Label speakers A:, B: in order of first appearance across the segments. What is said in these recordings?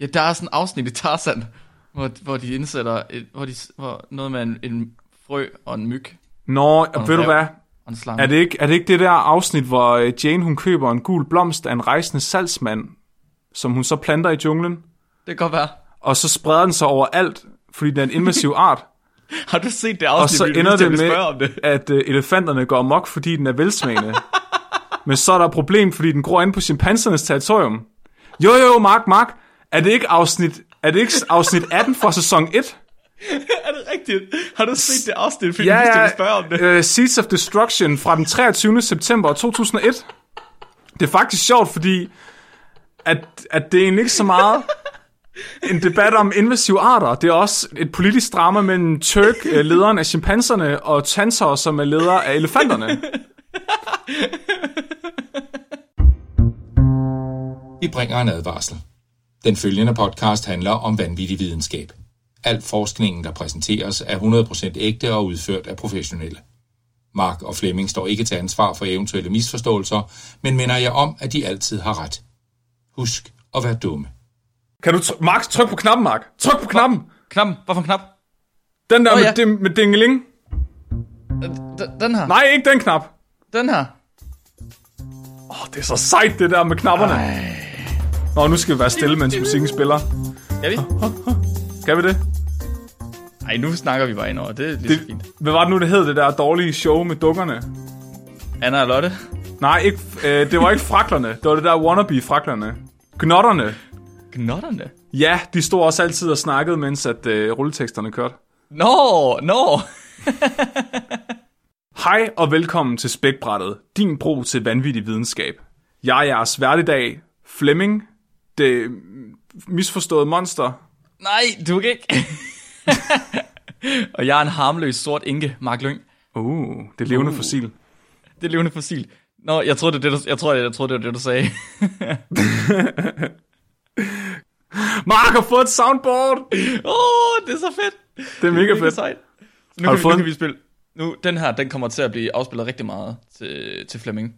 A: Ja, der er sådan en afsnit i Tarzan, hvor, hvor de indsætter et, hvor de, hvor noget med en, en frø og en myg
B: Nå,
A: en
B: ved du
A: ræv.
B: hvad?
A: og en slange.
B: Er det, ikke, er det ikke det der afsnit, hvor øh, Jane hun køber en gul blomst af en rejsende salgsmand, som hun så planter i junglen,
A: Det kan godt være.
B: og så spreder den sig overalt, fordi den er en invasiv art,
A: Har du set det
B: og
A: afsnit,
B: så
A: vi er
B: ender
A: nødt til
B: det
A: at
B: med,
A: spørge om det?
B: at øh, elefanterne går amok, fordi den er velsmagende. Men så er der et problem, fordi den gror ind på chimpansernes territorium. Jo, jo, Mark, Mark, er det ikke afsnit, er det ikke afsnit 18 fra sæson 1?
A: er det rigtigt? Har du set det afsnit, fordi ja, vi ja. spørge om det?
B: Uh, Seeds of Destruction fra den 23. september 2001. Det er faktisk sjovt, fordi at, at det er egentlig ikke så meget en debat om invasive arter. Det er også et politisk drama mellem Turk, øh, lederen af chimpanserne, og Tantor, som er leder af elefanterne.
C: Vi bringer en advarsel. Den følgende podcast handler om vanvittig videnskab. Al forskningen, der præsenteres, er 100% ægte og udført af professionelle. Mark og Flemming står ikke til ansvar for eventuelle misforståelser, men minder jer om, at de altid har ret. Husk at være dumme.
B: Kan du tr- Mark, tryk på knappen, Mark. Tryk på knappen.
A: Knap, hvorfor knap?
B: Den der
A: Åh,
B: oh,
A: ja.
B: ja. med, dim- med dingeling.
A: Øh, Den, den her.
B: Nej, ikke den knap.
A: Den her.
B: Åh, oh, det er så sejt, det der med knapperne. Ej. Nå, nu skal vi være stille, mens musikken spiller.
A: Skal vi?
B: Skal vi det?
A: Nej, nu snakker vi bare ind over. Det er lige det... så fint.
B: det, hvad var det nu, det hed, det der dårlige show med dukkerne?
A: Anna og Lotte.
B: Nej, ikke, øh, det var ikke fraklerne. Det var det der wannabe-fraklerne. Gnotterne.
A: Gnotterne.
B: Ja, de stod også altid og snakkede, mens at øh, rulleteksterne kørte.
A: Nå, nå.
B: Hej og velkommen til Spækbrættet, din bro til vanvittig videnskab. Jeg er jeres vært i dag, Flemming, det misforståede monster.
A: Nej, du kan ikke. og jeg er en harmløs sort enke, Mark Lyng.
B: Uh, det levende uh. fossil.
A: Det er levende fossil. Nå, jeg troede, det, var det du, jeg, troede, jeg troede, det var det, du sagde.
B: Mark har fået et soundboard!
A: Åh, oh, det er så fedt.
B: Det er mega fedt.
A: Sejt. Så nu,
B: Har
A: kan vi,
B: du fået
A: nu
B: den?
A: kan vi spille. Nu, den her, den kommer til at blive afspillet rigtig meget til, til Flemming.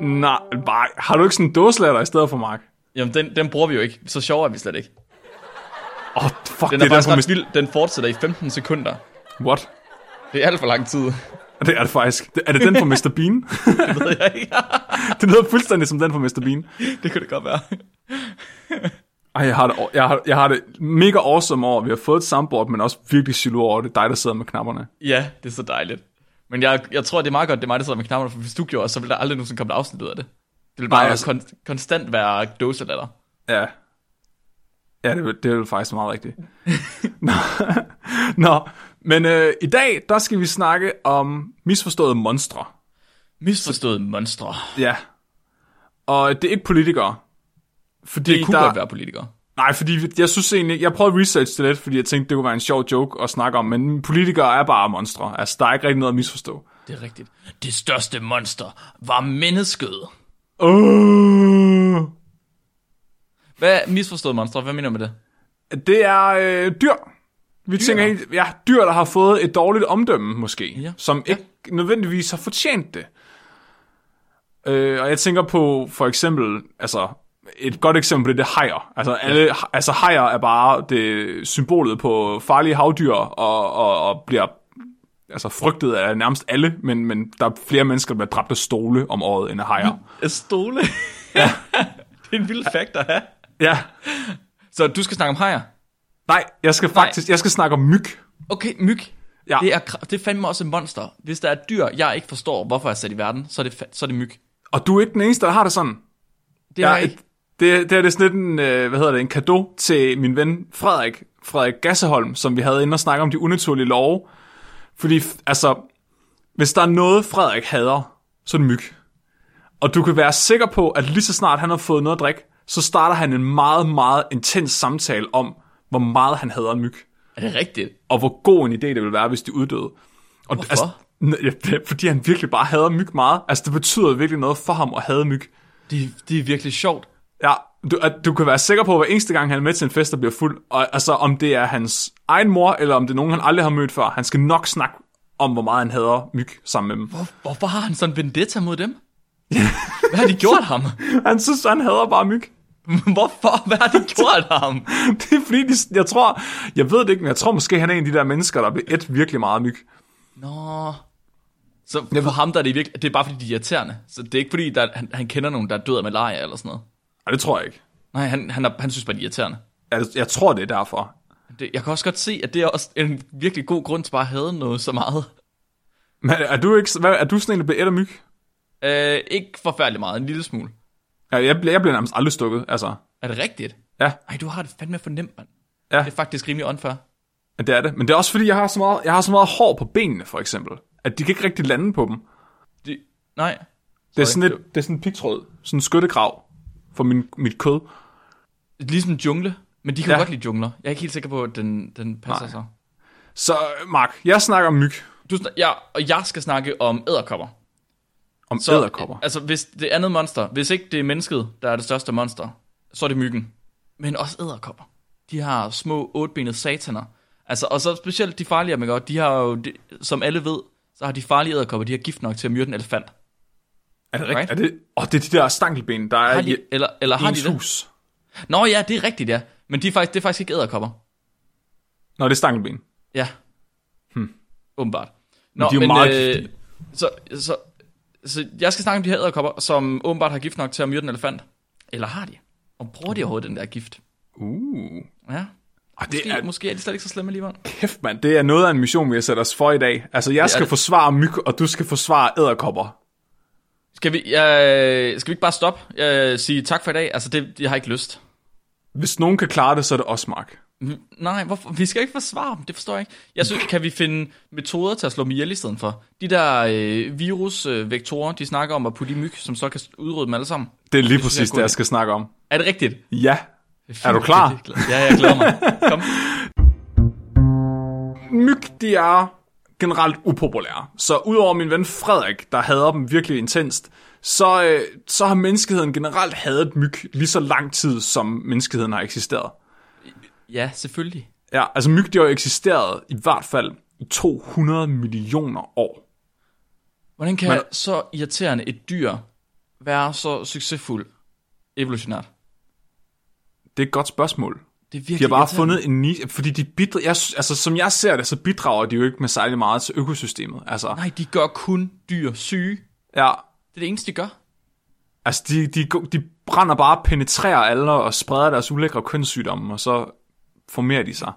B: Nej, nej, har du ikke sådan en dåslatter i stedet for, Mark?
A: Jamen, den, den bruger vi jo ikke. Så sjov er vi slet ikke.
B: Åh, oh, fuck,
A: Den
B: det
A: er
B: er
A: faktisk
B: den
A: ret vild.
B: på
A: Den fortsætter i 15 sekunder.
B: mis- What?
A: Det er alt for lang tid.
B: Det er det faktisk. Det- Er det den fra Mr. Bean?
A: Det ved jeg ikke.
B: det lyder fuldstændig som den fra Mr. Bean.
A: det kunne det godt være.
B: Ej, jeg har, det, jeg, har, jeg har det mega awesome over, at vi har fået et soundboard, men også virkelig silo over, at det er dig, der sidder med knapperne.
A: Ja, det er så dejligt. Men jeg, jeg tror, det er meget godt, det er mig, der sidder med knapperne, for hvis du gjorde, så ville der aldrig nogensinde komme et afsnit ud af det. Det ville bare
B: Nej,
A: Nej,
B: altså-
A: altså... kon- konstant være dåselatter.
B: Ja. Ja, det, er- det er jo faktisk meget rigtigt. Nå, Nå men øh, i dag, der skal vi snakke om misforståede monstre.
A: Misforståede monstre.
B: Ja. Og det er ikke politikere. Fordi
A: Det kunne
B: der,
A: godt være politikere.
B: Nej, fordi jeg synes egentlig, jeg prøvede at researche det lidt, fordi jeg tænkte, det kunne være en sjov joke at snakke om, men politikere er bare monstre. Altså, der er ikke rigtig noget at misforstå.
A: Det er rigtigt. Det største monster var mennesket.
B: Uh,
A: Hvad er misforståede monstre? Hvad mener du med det?
B: det er øh, dyr. Vi dyr. tænker helt, ja, dyr, der har fået et dårligt omdømme, måske, ja.
A: Ja.
B: som ikke nødvendigvis har fortjent det. Øh, og jeg tænker på, for eksempel, altså, et godt eksempel på det, det er hajer. Altså, alle, altså hajer er bare det symbolet på farlige havdyr, og, og, og bliver altså, frygtet af nærmest alle, men, men der er flere mennesker, der bliver dræbt af stole om året, end af hajer.
A: Et stole? Ja. det er en vild fact at have.
B: Ja,
A: Så du skal snakke om hajer?
B: nej, jeg skal faktisk, jeg skal snakke om myg.
A: Okay, myg.
B: Ja.
A: Ja. Det, er, kra- det er fandme også et monster. Hvis der er et dyr, jeg ikke forstår, hvorfor er sat i verden, så er det, fa- så er det myg.
B: Og du er ikke den eneste, der har det sådan.
A: Det
B: Ja,
A: er
B: et,
A: ikke.
B: det, det er det er sådan lidt en, øh, hvad hedder det, en gave til min ven Frederik, Frederik Gasseholm, som vi havde inde og snakke om de unaturlige love. Fordi, f- altså, hvis der er noget, Frederik hader, så er det myg. Og du kan være sikker på, at lige så snart han har fået noget at drikke, så starter han en meget, meget intens samtale om, hvor meget han hader myg.
A: Er det rigtigt?
B: Og hvor god en idé det ville være, hvis de uddøde. Og, Hvorfor? n- ja, det er, fordi han virkelig bare hader myg meget. Altså, det betyder virkelig noget for ham at hade myg.
A: Det, det er virkelig sjovt.
B: Ja, du, at du kan være sikker på, at hver eneste gang han er med til en fest, der bliver fuld, og altså om det er hans egen mor, eller om det er nogen, han aldrig har mødt før, han skal nok snakke om, hvor meget han hader myg sammen med dem.
A: Hvorfor har han sådan en vendetta mod dem? Hvad har de gjort ham?
B: Han synes, han hader bare myg.
A: Hvorfor? Hvad har de gjort ham?
B: Det er fordi, de, jeg tror, jeg ved det ikke, men jeg tror måske, han er en af de der mennesker, der bliver et virkelig meget myg.
A: Nå. Så for ham der er det virkelig, det er bare fordi, de er irriterende. Så det er ikke fordi, der, han, han kender nogen, der er død af malaria eller sådan noget.
B: Og det tror jeg ikke.
A: Nej, han, han, er, han synes bare, de er irriterende.
B: Jeg, jeg tror, det er derfor.
A: Det, jeg kan også godt se, at det er også en virkelig god grund til bare at have noget så meget.
B: Men er du, ikke, hvad, er du sådan en, der bliver et af myg?
A: Øh, ikke forfærdelig meget, en lille smule.
B: Ja, Jeg, bliver- jeg bliver nærmest aldrig stukket, altså.
A: Er det rigtigt?
B: Ja,
A: Ej, du har det fandme fornemt, mand.
B: Ja.
A: Det er faktisk rimelig unfair.
B: men det er det. Men det er også fordi, jeg har så meget, jeg har så meget hår på benene, for eksempel. At de kan ikke rigtig lande på dem.
A: Det, nej.
B: Det er sådan lidt, det er sådan en pigtråd. Sådan en skyttegrav for min, mit kød.
A: Ligesom jungle. Men de kan
B: Ja.
A: ja. godt lide jungler. Jeg er ikke helt sikker på, at den, den passer
B: Nej.
A: sig.
B: Så Mark, jeg snakker om myg.
A: Du, sn- ja, og jeg skal snakke om æderkopper.
B: Om så, æderkopper.
A: Altså, hvis det andet monster, hvis ikke det er mennesket, der er det største monster, så er det myggen. Men også æderkopper. De har små otbenede sataner. Altså, og så specielt de farlige, man godt, de har jo, de, som alle ved, så har de farlige æderkopper, de har gift nok til at myrde en elefant.
B: er det
A: right?
B: rigtigt? Er det, åh, det er de der stankelben, der er
A: Har
B: i
A: de, eller, eller har de
B: ens
A: det?
B: hus.
A: Nå ja, det er rigtigt, ja. Men de er faktisk, det er faktisk ikke æderkopper.
B: Nå, det er stankelben.
A: Ja. Hmm. Åbenbart.
B: Men de er jo meget
A: øh,
B: giftige.
A: så, så, så jeg skal snakke om de her æderkopper, som åbenbart har gift nok til at myrde en elefant. Eller har de? Og bruger de overhovedet den der gift?
B: Uh.
A: Ja.
B: Og det
A: Måske,
B: er,
A: er... måske er de slet ikke så slemme alligevel.
B: kæft mand, det er noget af en mission, vi har sat os for i dag. Altså, jeg skal
A: det.
B: forsvare myg, og du skal forsvare æderkopper.
A: Skal vi, øh, skal vi ikke bare stoppe øh, sige tak for i dag? Altså, det, jeg har ikke lyst.
B: Hvis nogen kan klare det, så er det også Mark.
A: Mm, Nej, hvorfor? vi skal ikke forsvare dem, det forstår jeg ikke. Jeg synes, kan vi finde metoder til at slå dem ihjel i stedet for? De der øh, virusvektorer, de snakker om at putte i myg, som så kan udrydde dem alle sammen.
B: Det er lige det
A: synes
B: præcis
A: jeg er
B: det,
A: god
B: jeg
A: idé.
B: skal snakke om.
A: Er det rigtigt?
B: Ja. Er du
A: Jeg
B: klar?
A: er glad. Ja, jeg glæder mig. Kom.
B: Myg, de er generelt upopulære. Så udover min ven Frederik, der hader dem virkelig intenst, så, øh, så har menneskeheden generelt hadet myg lige så lang tid, som menneskeheden har eksisteret.
A: Ja, selvfølgelig.
B: Ja, altså myg, de har jo eksisteret i hvert fald i 200 millioner år.
A: Hvordan kan
B: Men-
A: Men... så irriterende et dyr være så succesfuld evolutionært?
B: Det er et godt spørgsmål.
A: Det er
B: De
A: virkelig
B: har bare
A: irriterende.
B: fundet en niche, fordi de bidra- jeg, sy- altså, som jeg ser det, så bidrager de jo ikke med særlig meget til økosystemet. Altså,
A: Nej, de gør kun dyr syge.
B: ja,
A: Det er det eneste, de gør.
B: altså de, de, go- de brænder bare, penetrerer alle og spreder deres ulækre kønssygdomme, og så formerer de sig.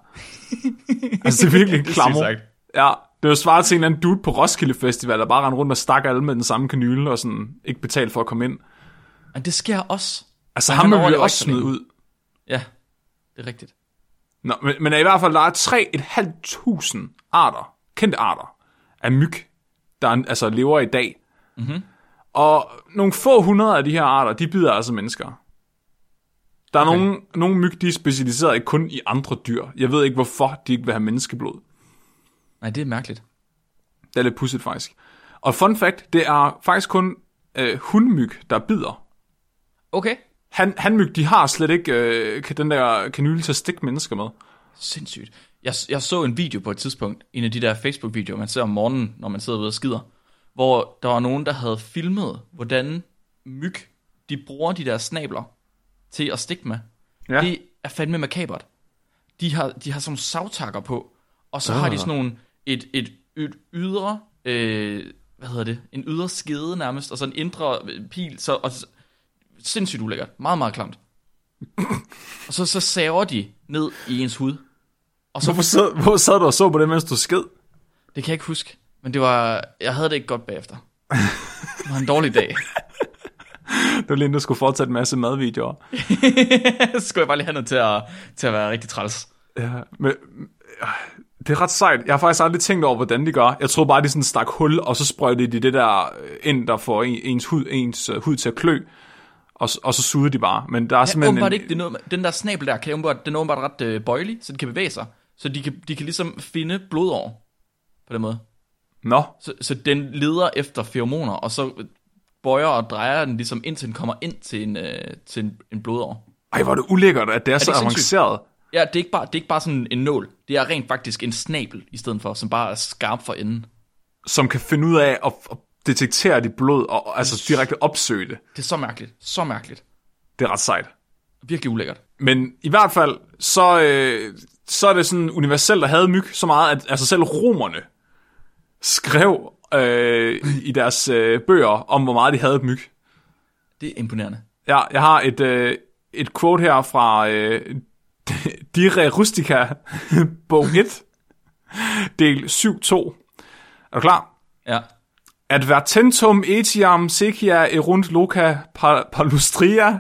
B: altså, det er virkelig en klammer.
A: sagt.
B: Ja, det var svaret til en eller anden dude på Roskilde Festival, der bare rendte rundt og stak alle med den samme kanyle, og sådan ikke betalt for at komme ind.
A: Men det sker også.
B: Altså,
A: Men
B: ham
A: han
B: vil vi
A: overlever
B: også
A: ikke så længe.
B: smide ud.
A: Ja, det er rigtigt.
B: Nå, men, men er i hvert fald, der er 3.500 arter, kendte arter, af myg, der er, altså lever i dag. Mm-hmm. Og nogle få hundrede af de her arter, de bider altså mennesker. Der er okay. nogle, nogle myg, de er specialiseret kun i andre dyr. Jeg ved ikke, hvorfor de ikke vil have menneskeblod.
A: Nej, det er mærkeligt.
B: Det er lidt pudsigt faktisk. Og fun fact, det er faktisk kun øh, hundmyg, der bider.
A: Okay.
B: Han, hanmyg, de har slet ikke øh, den der kanyle til at stikke mennesker med.
A: Sindssygt. Jeg, jeg så en video på et tidspunkt, en af de der Facebook-videoer, man ser om morgenen, når man sidder ude og skider, hvor der var nogen, der havde filmet, hvordan myg, de bruger de der snabler til at stikke med.
B: Ja.
A: Ja. Det er fandme makabert. De har, de har sådan nogle savtakker på, og så har de sådan nogle, et, et, et ydre, øh, hvad hedder det, en ydre skede nærmest, og så en indre øh, pil, så, og, så- sindssygt ulækkert. Meget, meget klamt. og så, så saver de ned i ens hud.
B: Hvorfor sad, hvor sad du og så på det, mens du sked?
A: Det kan jeg ikke huske, men det var, jeg havde det ikke godt bagefter. Det var en dårlig dag.
B: Det var lige inden, du skulle fortsætte en masse madvideoer.
A: så skulle jeg bare lige have noget til at, til at være rigtig træls.
B: Ja, men, øh, det er ret sejt. Jeg har faktisk aldrig tænkt over, hvordan de gør. Jeg tror bare, de sådan stak hul, og så sprøjtede de det der øh, ind, der får en, ens, hud, ens øh, hud til at klø. Og, s- og så sugede de bare. Men der er
A: Men
B: simpelthen
A: åbenbart
B: en,
A: ikke, det er noget, med- den der snabel der, kan jeg åbenbart, den er åbenbart ret øh, bøjelig, så den kan bevæge sig. Så de kan, de kan ligesom finde blodår på den måde.
B: Nå,
A: Så, så den leder efter feromoner, og så bøjer og drejer den ligesom indtil den kommer ind til en, øh, til en, en blodår.
B: ej, hvor er det ulækkert, at det er, er så
A: ikke sindssygt?
B: avanceret.
A: Ja, det er, ikke bare, det er ikke bare sådan en nål. Det er rent faktisk en snabel i stedet for, som bare er skarp for enden.
B: Som kan finde ud af at, at detektere dit blod og altså direkte opsøge det.
A: Det er så mærkeligt. Så mærkeligt.
B: Det er ret sejt.
A: Virkelig ulækkert.
B: Men i hvert fald, så, øh, så er det sådan universelt at have myg så meget, at altså selv romerne skrev øh, i deres øh, bøger om, hvor meget de havde myg.
A: Det er imponerende.
B: Ja, jeg har et, øh, et quote her fra øh, Dire Rustica, bog 1, del 7.2. Er du klar?
A: Ja.
B: Advertentum etiam sequia erunt loca pa- palustria,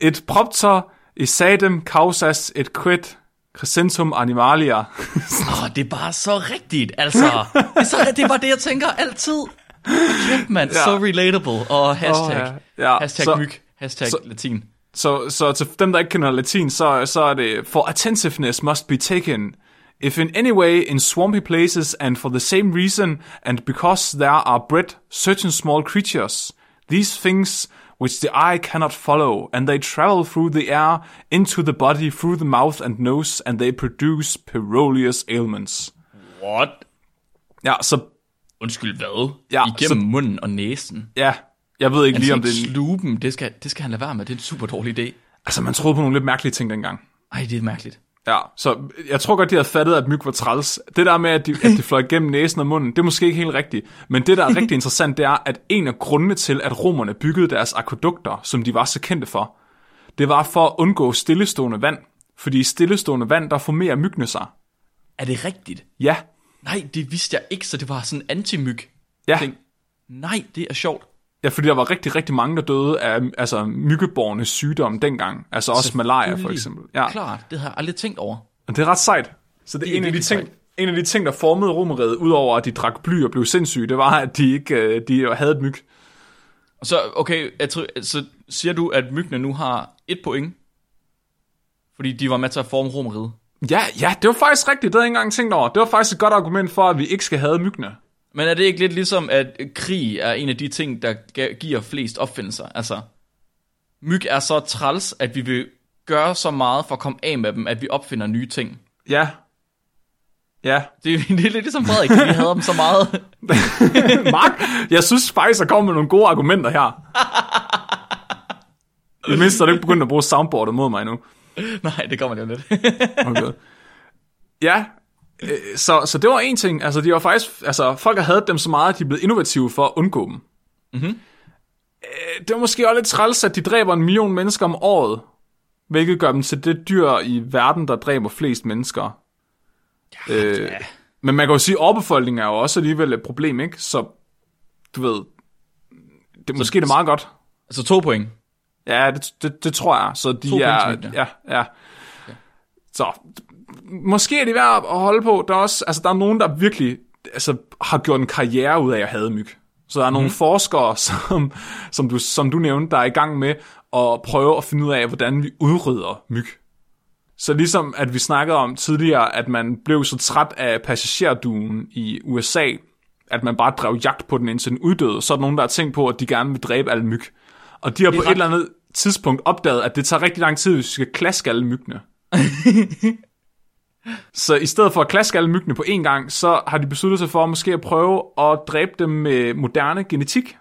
B: et propter esadem causas et quid crescentum animalia.
A: Åh, det er bare så rigtigt, altså. Det er, så, det er bare det, jeg tænker altid. Kæft, mand. Ja. Så relatable. Og hashtag.
B: Åh, ja. Ja,
A: hashtag
B: så-
A: myg. Hashtag latin.
B: så, så til dem, der ikke kender latin, så, så er det, for attentiveness must be taken, if in any way in swampy places and for the same reason, and because there are bred certain small creatures, these things which the eye cannot follow, and they travel through the air, into the body, through the mouth and nose, and they produce perilous ailments.
A: What?
B: Ja, så,
A: Undskyld, hvad?
B: Ja,
A: Igennem så... munden og næsen.
B: ja, jeg ved
A: Altså,
B: ikke lige om det er en-
A: Sluben, det skal, det skal han lade være med. Det er en super dårlig idé.
B: Altså, man troede på nogle lidt mærkelige ting dengang.
A: Ej, det er mærkeligt.
B: Ja, så jeg tror godt, de havde fattet, at myg var træls. Det der med, at de, at de fløj gennem næsen og munden, det er måske ikke helt rigtigt. Men det, der er rigtig interessant, det er, at en af grundene til, at romerne byggede deres akvedukter, som de var så kendte for, det var for at undgå stillestående vand. Fordi i stillestående vand, der formerer myggene sig.
A: Er det rigtigt?
B: Ja,
A: Nej, det vidste jeg ikke, så det var sådan en antimyg.
B: ja.
A: Tænk, Nej, det er sjovt.
B: ja, fordi der var rigtig, rigtig mange, der døde af altså, myggeborne sygdomme dengang. Altså også malaria for eksempel. Ja.
A: Klart, det har jeg aldrig tænkt over.
B: Og det er ret sejt. Så
A: Det
B: det, det
A: er
B: er en af, de
A: virkelig
B: ting, en af de ting, der formede romeriet, udover at de drak bly og blev sindssyge, det var, at de ikke øh, de havde et myg.
A: Og Så, okay, jeg tror, så siger du, at myggene nu har et point, fordi de var med til at forme romeriet.
B: Ja, ja, det var faktisk rigtigt. Det havde jeg ikke engang tænkt over. Det var faktisk et godt argument for, at vi ikke skal have myggene.
A: Men er det ikke lidt ligesom, at krig er en af de ting, der ga- giver flest opfindelser? Altså, myg er så træls, at vi vil gøre så meget for at komme af med dem, at vi opfinder nye ting.
B: Ja. Ja.
A: Det er, det er lidt ligesom Frederik, vi havde dem så meget.
B: Mark, jeg synes faktisk, at kommer med nogle gode argumenter her. I det mindste er du ikke begyndt at bruge soundboardet mod mig endnu.
A: Nej, det kommer det jo lidt.
B: Okay. Ja, øh, så, så det var en ting. Altså, de var faktisk, altså, folk har hadet dem så meget, at de er blevet innovative for at undgå dem. Mm-hmm. Det var måske også lidt træls, at de dræber en million mennesker om året, hvilket gør dem til det dyr i verden, der dræber flest mennesker. Ja, øh, Men man kan jo sige, at overbefolkningen er jo også alligevel et problem, ikke? Så du ved, det, måske er det er meget godt.
A: så Altså, to point.
B: Ja, det, det, det tror jeg. Så de
A: To
B: er...
A: point til
B: Ja, ja. Så måske er det værd at holde på. Der er også, altså, der er nogen, der virkelig altså, har gjort en karriere ud af at have myg. Så der er nogle forskere, som, som, du, som du nævnte, der er i gang med at prøve at finde ud af, hvordan vi udrydder myg. Så ligesom at vi snakkede om tidligere, at man blev så træt af passagerduen i USA, at man bare drev jagt på den indtil den uddøde, så er der nogen, der har tænkt på, at de gerne vil dræbe alle myg. Og de har på et
A: ret-
B: eller andet tidspunkt opdaget, at det tager rigtig lang tid, hvis vi skal klaske alle myggene. så i stedet for at klaske alle myggene på én gang, så har de besluttet sig for måske at prøve at dræbe dem med moderne genetik.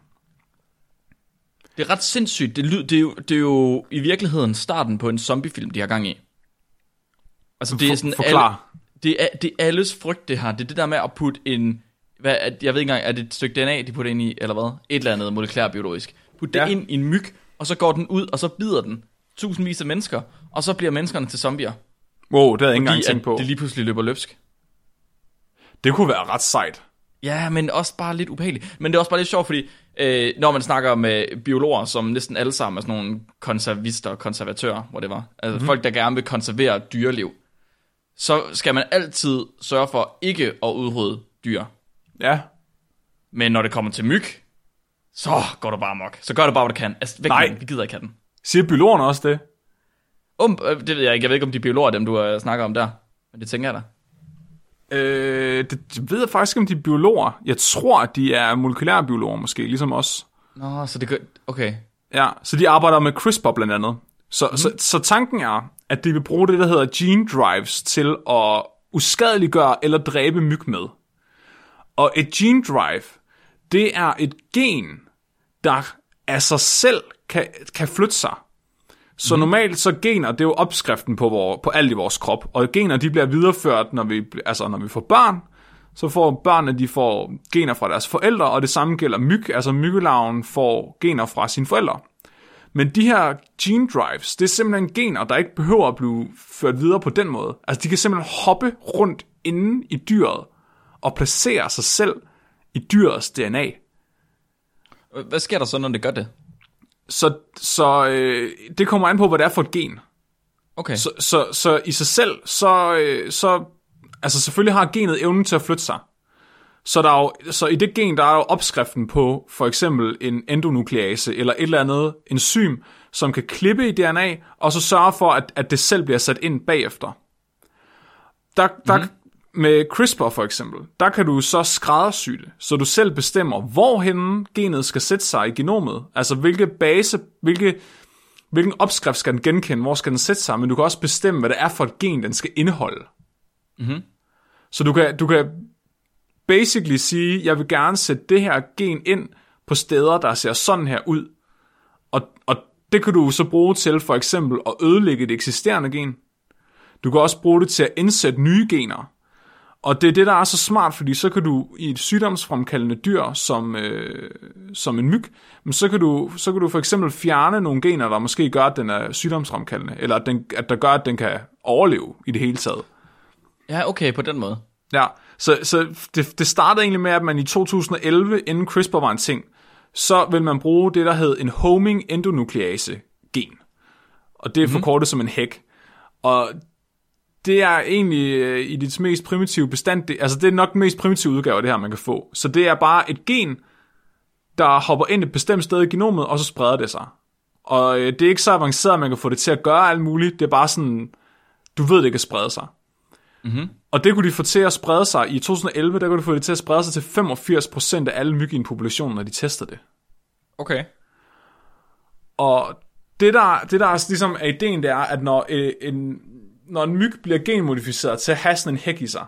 A: Det er ret sindssygt. Det, lyd, det, er jo, det er jo i virkeligheden starten på en zombiefilm, de har gang i. Altså, det er
B: For-
A: sådan...
B: forklar.
A: Alle, det, er, det er alles frygt, det her. Det er det der med at putte en... Hvad, er- jeg ved ikke engang, er det et stykke DNA, de putter ind i, eller hvad? Et eller andet molekylærbiologisk. Put det
B: Ja.
A: ind i en myg, og så går den ud, og så bider den tusindvis af mennesker, og så bliver menneskerne til zombier.
B: Wow, det havde jeg ikke engang
A: Fordi
B: tænkt
A: at
B: på.
A: det lige pludselig løber løbsk.
B: Det kunne være ret sejt.
A: Ja, men også bare lidt ubehageligt. Men det er også bare lidt sjovt, fordi øh, når man snakker med biologer, som næsten alle sammen er sådan nogle konservister og konservatører, hvor det var, altså
B: Mhm.
A: mm-hmm. folk, der gerne vil konservere dyreliv, så skal man altid sørge for ikke at udrydde dyr.
B: Ja.
A: Men når det kommer til myg, så går du bare mok. Så gør du bare, hvad du kan. Altså, væk
B: Nej.
A: med den. Vi gider ikke have den.
B: Siger biologerne også det?
A: Um, øh, det ved jeg ikke. Jeg ved ikke, om de biologer er dem, du øh, snakker om der. Men det tænker jeg da.
B: Øh, det, det ved jeg faktisk ikke, om de er biologer. Jeg tror, at de er molekylærbiologer måske, ligesom os.
A: Nå, så det gør... Okay.
B: Ja, så de arbejder med CRISPR blandt andet. Så, mm. så, så tanken er, at de vil bruge det, der hedder gene drives, til at uskadeliggøre eller dræbe myg med. Og et gene drive, det er et gen, der af sig selv kan, kan flytte sig. Så mm. normalt så gener, det er jo opskriften på, vor, på alt i vores krop, og gener de bliver videreført, når vi, altså når vi får børn, så får børnene, de får gener fra deres forældre, og det samme gælder myg, altså myggelarven får gener fra sine forældre. Men de her gene drives, det er simpelthen gener, der ikke behøver at blive ført videre på den måde. Altså de kan simpelthen hoppe rundt inde i dyret, og placere sig selv i dyrets DNA.
A: Øh, Hvad sker der så, når det gør det?
B: Så, så øh, det kommer an på, hvad det er for et gen.
A: Okay.
B: Så, så, så i sig selv, så, øh, så altså selvfølgelig har genet evnen til at flytte sig. Så, der er jo, så i det gen, der er jo opskriften på for eksempel en endonuklease eller et eller andet enzym, som kan klippe i DNA, og så sørge for, at, at det selv bliver sat ind bagefter. Der, der, mm-hmm. Med CRISPR for eksempel, der kan du så skræddersy det, så du selv bestemmer, hvorhenne genet skal sætte sig i genomet. Altså hvilke base, hvilke, hvilken opskrift skal den genkende, hvor skal den sætte sig, men du kan også bestemme, hvad det er for et gen, den skal indeholde.
A: Mm-hmm.
B: Så du kan, du kan basically sige, jeg vil gerne sætte det her gen ind på steder, der ser sådan her ud. Og, og det kan du så bruge til for eksempel at ødelægge det eksisterende gen. Du kan også bruge det til at indsætte nye gener. Og det er det, der er så smart, fordi så kan du i et sygdomsfremkaldende dyr, som, øh, som en myg, men så, kan du, så kan du for eksempel fjerne nogle gener, der måske gør, at den er sygdomsfremkaldende, eller at, den, at der gør, at den kan overleve i det hele taget.
A: Ja, okay, på den måde.
B: Ja, så, så det, det startede egentlig med, at man i 2011, inden CRISPR var en ting, så vil man bruge det, der hed en homing endonuklease gen. Og det er forkortet mm-hmm. som en hæk. Og det er egentlig øh, i dets mest primitive bestand, det, altså det er nok den mest primitive udgave af det her, man kan få. Så det er bare et gen, der hopper ind et bestemt sted i genomet, og så spreder det sig. Og øh, det er ikke så avanceret, at man kan få det til at gøre alt muligt. Det er bare sådan, du ved, det kan sprede sig.
A: Mm-hmm.
B: Og det kunne de få til at sprede sig. I 2011, der kunne de få det til at sprede sig til 85% af alle myg i en population, når de testede det.
A: Okay.
B: Og det der, det der er, ligesom er ideen, det er, at når øh, en, når en myg bliver genmodificeret til at have sådan en hæk i sig,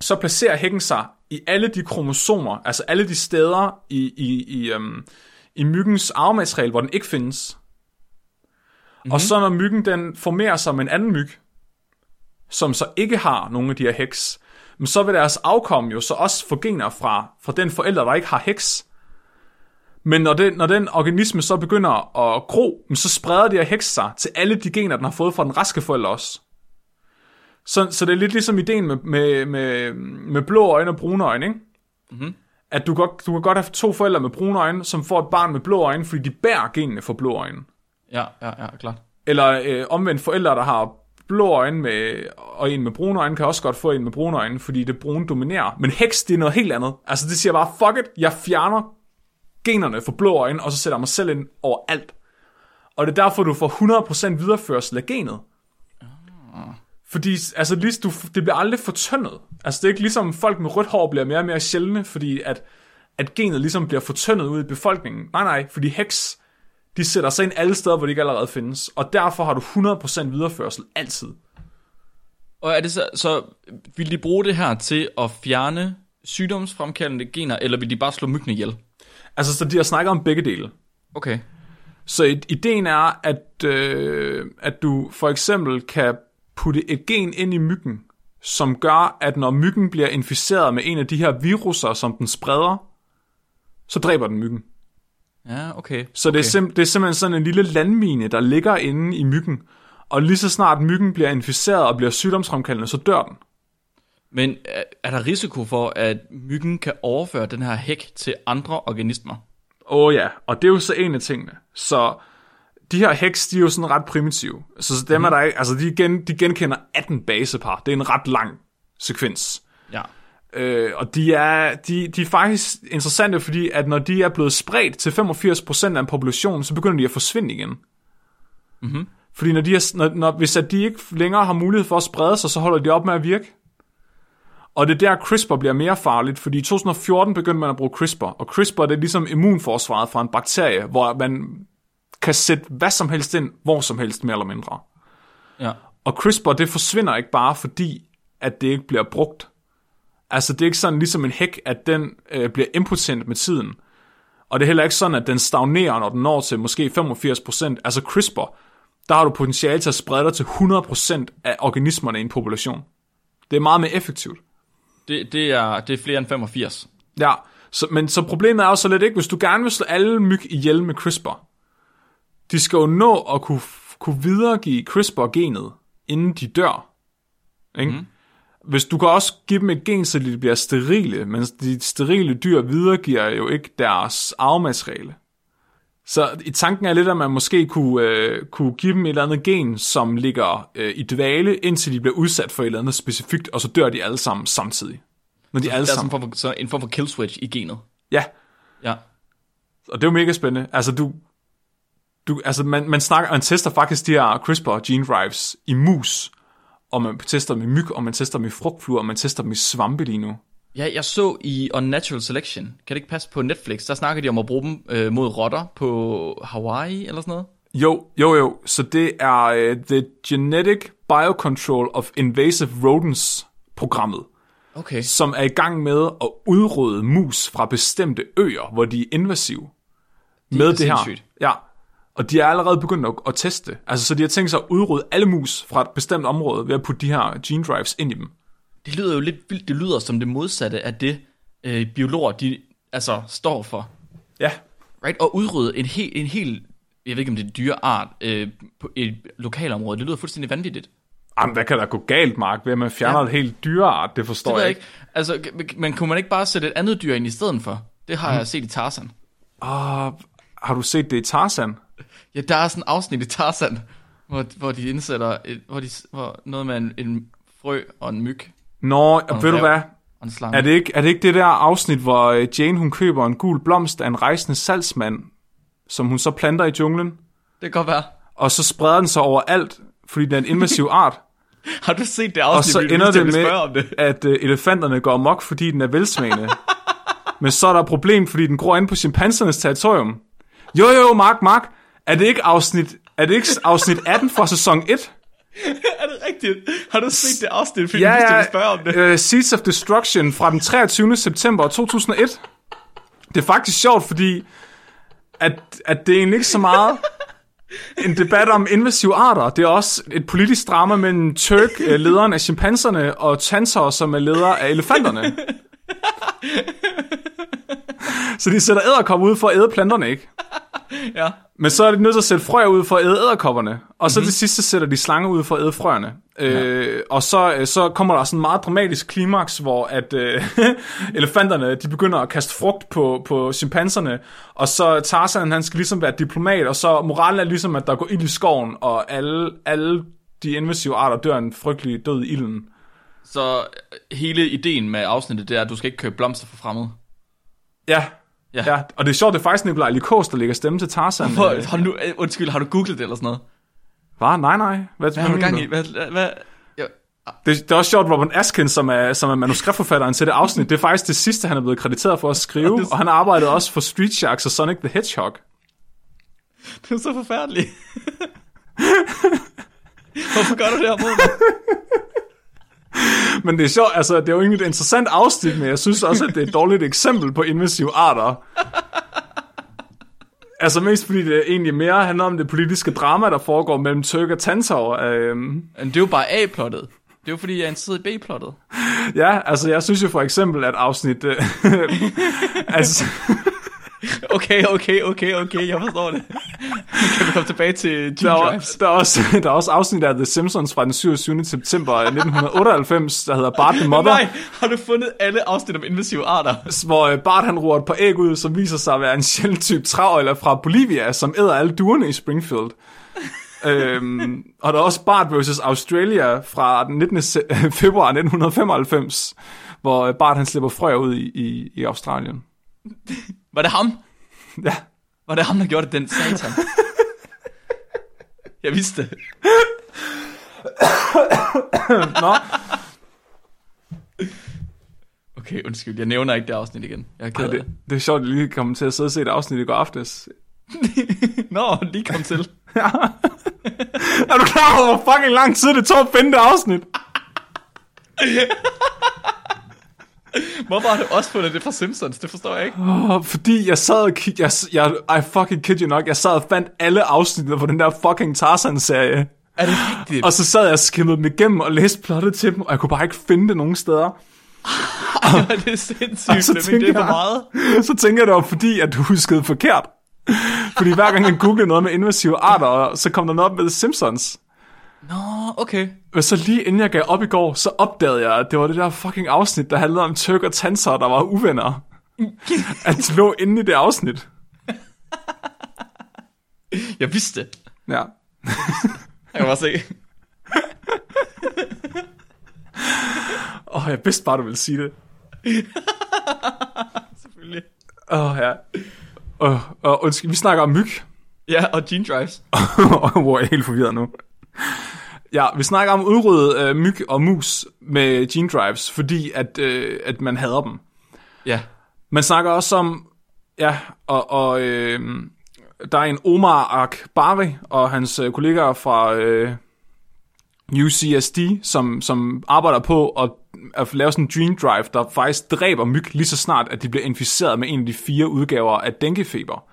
B: så placerer hækken sig i alle de kromosomer, altså alle de steder i, i, i, øhm, i myggens arvemateriale, hvor den ikke findes. Mm-hmm. Og så når myggen den formerer sig med en anden myg, som så ikke har nogen af de her heks, men så vil deres afkom jo så også få gener fra, fra den forælder, der ikke har heks. Men når den, når den organisme så begynder at gro, så spreder de her heks sig til alle de gener, den har fået fra den raske forælder også. Så, så det er lidt ligesom ideen med, med, med, med blå øjne og brune øjne, ikke?
A: Mm-hmm.
B: at du, godt, du kan godt have to forældre med brune øjne, som får et barn med blå øjne, fordi de bærer genene for blå øjne.
A: Ja, ja, ja, klart.
B: Eller øh, omvendt forældre, der har blå øjne med, og en med brune øjne, kan også godt få en med brune øjne, fordi det brune dominerer. Men heks, det er noget helt andet. Altså det siger bare, fuck it, jeg fjerner generne for blå øjne, og så sætter jeg mig selv ind over alt. Og det er derfor, du får 100% videreførsel af genet. Fordi altså, lige, du, det bliver aldrig fortyndet. Altså, det er ikke ligesom folk med rødt hår bliver mere og mere sjældne, fordi at, at genet ligesom bliver fortyndet ud i befolkningen. Nej, nej, fordi heks, de sætter sig ind alle steder, hvor de ikke allerede findes. Og derfor har du 100% videreførsel altid.
A: Og er det så, så vil de bruge det her til at fjerne sygdomsfremkaldende gener, eller vil de bare slå myggene ihjel?
B: Altså, så de har snakket om begge dele.
A: Okay.
B: Så i- ideen er, at, øh, at du for eksempel kan putte et gen ind i myggen, som gør, at når myggen bliver inficeret med en af de her viruser, som den spreder, så dræber den myggen.
A: Ja, okay.
B: Så okay. det, er sim- det er simpelthen sådan en lille landmine, der ligger inde i myggen. Og lige så snart myggen bliver inficeret og bliver sygdomsfremkaldende, så dør den.
A: Men er, er der risiko for, at myggen kan overføre den her hæk til andre organismer?
B: Åh oh, ja, og det er jo så en af tingene. Så de her heks, de er jo sådan ret primitive. Så så dem mm. er der ikke, altså de, gen, de genkender 18 basepar. Det er en ret lang sekvens.
A: Ja.
B: Øh, og de er, de, de er faktisk interessante, fordi at når de er blevet spredt til 85% af en population, så begynder de at forsvinde igen.
A: Mm-hmm.
B: Fordi når de er, når, når, hvis at de ikke længere har mulighed for at sprede sig, så holder de op med at virke. Og det er der, CRISPR bliver mere farligt, fordi i 2014 begyndte man at bruge CRISPR, og CRISPR det er ligesom immunforsvaret fra en bakterie, hvor man kan sætte hvad som helst ind, hvor som helst, mere eller mindre.
A: Ja.
B: Og CRISPR, det forsvinder ikke bare, fordi at det ikke bliver brugt. Altså, det er ikke sådan ligesom en hæk, at den øh, bliver impotent med tiden. Og det er heller ikke sådan, at den stagnerer, når den når til måske 85%. Altså CRISPR, der har du potentiale til at sprede dig til 100% af organismerne i en population. Det er meget mere effektivt.
A: Det, det, er, det er flere end 85.
B: Ja, så, men så problemet er jo så lidt ikke, hvis du gerne vil slå alle myg ihjel med CRISPR, de skal jo nå at kunne, kunne videregive CRISPR-genet, inden de dør. Ikke?
A: Mhm.
B: Mm. Hvis du kan også give dem et gen, så de bliver sterile, men de sterile dyr videregiver jo ikke deres arvemateriale. Så i tanken er lidt, at man måske kunne, øh, kunne give dem et eller andet gen, som ligger øh, i dvale, indtil de bliver udsat for et eller andet specifikt, og så dør de alle sammen samtidig. Når de
A: Der
B: alle
A: er sådan en
B: sammen...
A: form for, så en form for kill switch i genet.
B: Ja,
A: Ja.
B: og det er jo mega spændende. Altså, du, du, altså man, man, snakker, man tester faktisk de her CRISPR gene drives i mus, og man tester dem i myg, og man tester dem i frugtfluer, og man tester dem i svampe lige nu.
A: ja, jeg så i Unnatural Selection, kan det ikke passe på Netflix, der snakker de om at bruge dem øh, mod rotter på Hawaii eller sådan noget.
B: Jo, jo, jo. Så det er uh, The Genetic Biocontrol of Invasive Rodents programmet,
A: Okay.
B: som er i gang med at udrydde mus fra bestemte øer, hvor de er invasive. med
A: er
B: det her.
A: sindssygt.
B: Ja. Og de er allerede begyndt at, at teste. Altså, så de har tænkt sig at udrydde alle mus fra et bestemt område ved at putte de her gene drives ind i dem.
A: Det lyder jo lidt vildt, det lyder som det modsatte af det, øh, biologer de altså står for.
B: Ja.
A: Right? Og udrydde en hel, en hel jeg ved ikke om det er en dyreart, øh, på et lokalområde. Det lyder fuldstændig vanvittigt.
B: Jamen, hvad kan der gå galt, Mark, ved at man fjerner ja.
A: Ja.
B: et helt dyreart? Det forstår
A: Det ved jeg
B: jeg ikke.
A: ikke. Altså, g- men kunne man ikke bare sætte et andet dyr ind i stedet for? Det
B: Mm.
A: har jeg set i Tarzan.
B: Ah, har du set det i Tarzan?
A: Ja, der er sådan en afsnit i Tarzan, hvor, hvor de indsætter et, hvor de, hvor noget med en, en frø og en myg
B: Nå, og ved du
A: ræv.
B: hvad?
A: og en slange.
B: Er det, ikke, er det ikke det der afsnit, hvor øh, Jane hun køber en gul blomst af en rejsende salgsmand, som hun så planter i junglen,
A: det kan godt være.
B: og så spreder den sig overalt, fordi den er en invasiv art?
A: Har du set det
B: Og
A: afsnit?
B: så
A: Fordi du
B: ender
A: lyst til, at
B: det
A: vi
B: med,
A: spørger Om det.
B: at øh, elefanterne går amok, fordi den er velsmagende. Men så er der et problem, fordi den gror ind på chimpansernes territorium. Jo, jo, Mark, Mark. Er det ikke afsnit, er det ikke afsnit 18 fra sæson 1?
A: er det rigtigt? Har du set det afsnit? Fordi ja, ja. du spørger om det.
B: Uh, Seeds of Destruction fra den 23. september 2001. Det er faktisk sjovt, fordi at, at det er egentlig ikke så meget en debat om invasive arter. Det er også et politisk drama mellem Turk, øh, lederen af chimpanserne, og Tantor, som er leder af elefanterne. Så de sætter æderkopper ud for at æde planterne, ikke?
A: Ja.
B: Men så er de nødt til at sætte frøer ud for at æde æderkopperne. Og
A: Mhm.
B: så mm-hmm. til sidst så sætter de slanger ud for at æde frøerne. Øh, og så, øh, så kommer der sådan en meget dramatisk klimaks, hvor at øh, elefanterne de begynder at kaste frugt på, på chimpanserne. Og så Tarzan han skal ligesom være diplomat, og så moralen er ligesom, at der går ild i skoven, og alle, alle de invasive arter dør en frygtelig død i ilden.
A: Så øh, hele ideen med afsnittet, det er, at du skal ikke købe blomster for fremmede.
B: Ja.
A: Ja.
B: ja. Og det er sjovt, det er faktisk Nikolaj Likos, der lægger stemme til Tarzan.
A: For, hold nu, øh, undskyld, har du googlet det eller sådan noget?
B: Hvad? Nej, nej. Hvad,
A: Hvad har du
B: mener
A: gang i? Hvad, hvad, hvad? Ja.
B: Det, det er også sjovt, Robert Askins, som er, som er manuskriptforfatteren til det afsnit, det er faktisk det sidste, han er blevet krediteret for at skrive, og han arbejdede også for Street Sharks og Sonic the Hedgehog.
A: Det er så forfærdeligt. Hvorfor gør du det her mod mig?
B: Men det er sjovt, altså det er jo egentlig et interessant afsnit, men jeg synes også, at det er et dårligt eksempel på invasive arter. Altså mest fordi det egentlig mere handler om det politiske drama, der foregår mellem Tyrk og Tantor. Øhm,
A: Men det er jo bare A-plottet. Det er jo fordi, jeg er interesseret i B-plottet.
B: ja, altså jeg synes jo for eksempel, at afsnit... Øh, altså,
A: Okay, okay, okay, okay, jeg forstår det. kan vi komme tilbage til
B: Der
A: Gene
B: er,
A: Drives?
B: der, er også, der er også afsnit af The Simpsons fra den 27. september 1998, der hedder Bart the Mother,
A: Nej, har du fundet alle afsnit om invasive arter?
B: hvor øh, Bart han roer et par æg ud, som viser sig at være en sjælden type travøjler fra Bolivia, som æder alle duerne i Springfield. øhm, og der er også Bart vs. Australia fra den 19. se- februar 1995, hvor øh, Bart han slipper frøer ud i, i, i Australien.
A: Var det ham?
B: Ja.
A: Var det ham, der gjorde det, den satan? Jeg vidste det.
B: Nå,
A: Okay, undskyld, jeg nævner ikke det afsnit igen. Jeg er ked af
B: det,
A: det.
B: det er sjovt, at jeg lige kom til at sidde og se et afsnit i går aftes.
A: Nå, lige kom til.
B: Er du klar over, hvor fucking lang tid det tog at finde det afsnit?
A: Hvorfor har du også fundet det fra Simpsons? Det forstår jeg ikke.
B: Oh, fordi jeg sad og kig, jeg, jeg, I fucking kid you nok, jeg sad og fandt alle afsnittene på den der fucking Tarzan-serie.
A: Er det rigtigt?
B: Og så sad jeg og skimmede dem igennem og læste plottet til dem, og jeg kunne bare ikke finde det nogen steder.
A: Ej, det er sindssygt,
B: så
A: Flemming. Det er for
B: tænker jeg-
A: meget.
B: Så tænker jeg, det var fordi, at du huskede forkert. Fordi hver gang jeg googlede noget med invasive arter, så kom der noget op med The Simpsons.
A: Nå, okay.
B: Men så lige inden jeg gav op i går, så opdagede jeg, at det var det der fucking afsnit, der handlede om Tyrk og Tanser, der var uvenner. At det lå inde i det afsnit.
A: Jeg vidste det.
B: Ja.
A: Jeg kan bare se.
B: Åh, oh, jeg vidste bare, du ville sige det.
A: Selvfølgelig.
B: Åh, oh, ja. Og oh, undskyld, vi snakker om myg.
A: Ja, og gene drives.
B: Hvor er jeg helt forvirret nu. Ja, vi snakker om udrydde øh, myg og mus med gene drives, fordi at, øh, at man hader dem.
A: Ja.
B: Man snakker også om, ja, og, og øh, der er en Omar Akbari og hans øh, kollegaer fra øh, UCSD, som, som arbejder på at, at lave sådan en dream drive, der faktisk dræber myg lige så snart, at de bliver inficeret med en af de fire udgaver af denguefeber.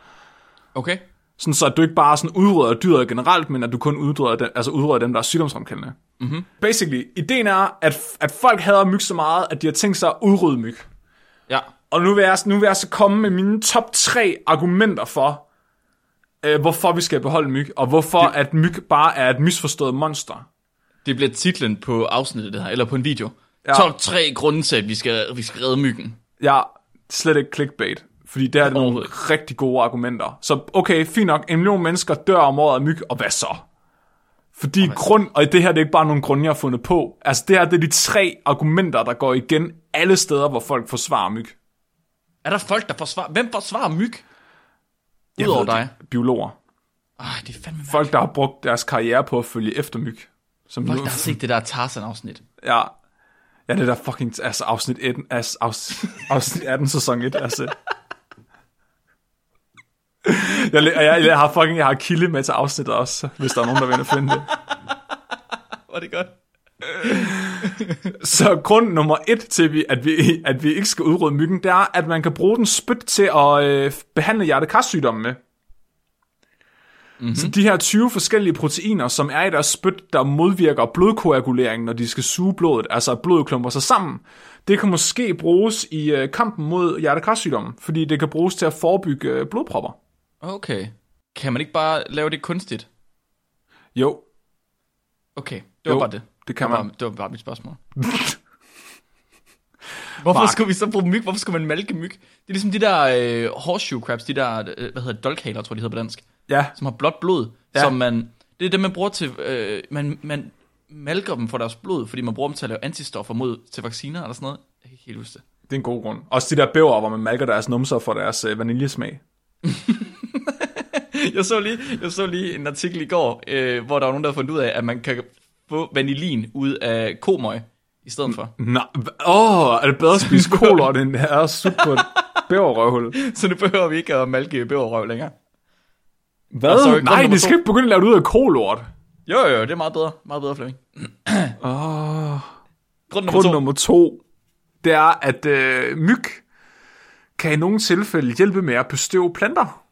A: Okay.
B: Sådan så, at du ikke bare sådan udrydder dyret generelt, men at du kun udrydder dem, altså udrydder dem der er sygdomsfremkaldende. Mm-hmm. Basically, ideen er, at, at folk hader myg så meget, at de har tænkt sig at udrydde myg.
A: Ja.
B: Og nu vil, jeg, nu vil jeg så komme med mine top tre argumenter for, øh, hvorfor vi skal beholde myg, og hvorfor det... at myg bare er et misforstået monster.
A: Det bliver titlen på afsnittet det her, eller på en video. Ja. Top 3 grunde til, at vi skal, vi skal redde myggen.
B: Jeg er slet ikke clickbait, fordi det her er nogle
A: Overhovedet.
B: rigtig gode argumenter. Så okay, fint nok, en million mennesker dør om året af myg, og hvad så? Fordi og grund, og det her det er ikke bare nogle grunde, jeg har fundet på. Altså det her det er de tre argumenter, der går igen alle steder, hvor folk forsvarer myg.
A: Er der folk, der forsvarer... Hvem forsvarer myg?
B: Jeg
A: Udover
B: ved
A: dig.
B: det. Biologer.
A: Ej, det er fandme... Folk,
B: Folk, der har brugt deres karriere på at følge efter myg. Som
A: folk
B: nu-
A: der har set det der Tarzan-afsnit.
B: Ja. Ja, det der fucking, altså afsnit 18, altså afs, afsnit 18, sæson 1, altså. Jeg, læ- og jeg, jeg har fucking, jeg har kilde med til afsnittet også, hvis der er nogen, der vil ind og finde det.
A: Var det godt?
B: Så grund nummer et til, vi, at, vi, at vi ikke skal udrydde myggen, det er, at man kan bruge den spyt til at øh, behandle hjertekarsygdomme med. Mm-hmm. Så de her 20 forskellige proteiner, som er i deres spyt, der modvirker blodkoagulering, når de skal suge blodet, altså at blodet klumper sig sammen, det kan måske bruges i øh, kampen mod hjertekarsygdomme, fordi det kan bruges til at forebygge øh, blodpropper.
A: Okay. Kan man ikke bare lave det kunstigt?
B: Jo,
A: Okay, det var
B: Jo,
A: bare det.
B: det kan
A: det var,
B: man.
A: Det var bare mit spørgsmål. Hvorfor
B: Mark.
A: skulle vi så bruge myg? Hvorfor skulle man malke myg? Det er ligesom de der øh, horseshoe crabs, de der, øh, hvad hedder det, dolkhaler, tror jeg, de hedder på dansk,
B: ja,
A: som har blåt blod,
B: Ja.
A: ja. som man, det er det, man bruger til, øh, man, man malker dem for deres blod, fordi man bruger dem til at lave antistoffer mod, til vacciner eller sådan noget. Jeg kan ikke helt huske det.
B: det er en god grund. Også de der bæver, hvor man malker deres numser for deres øh, vaniljesmag.
A: Jeg så lige, jeg så lige en artikel i går, øh, hvor der var nogen, der havde fundet ud af, at man kan få vanillin ud af komøg i stedet for.
B: Nå, hva- åh, er det bedre at spise kolort, end det er at sutte på et bæverrøvhul?
A: Så nu behøver vi ikke at malke bæverrøv længere.
B: Hvad?
A: sorry, grund
B: Altså, Nej,
A: nummer
B: de skal
A: to.
B: ikke begynde at lave det ud af kolort.
A: Jo, jo, jo, det er meget bedre. Meget bedre, Flemming.
B: Åh.
A: Grund nummer
B: Grund
A: to.
B: nummer to, det er, at øh, myg kan i nogle tilfælde hjælpe med at bestøve planter.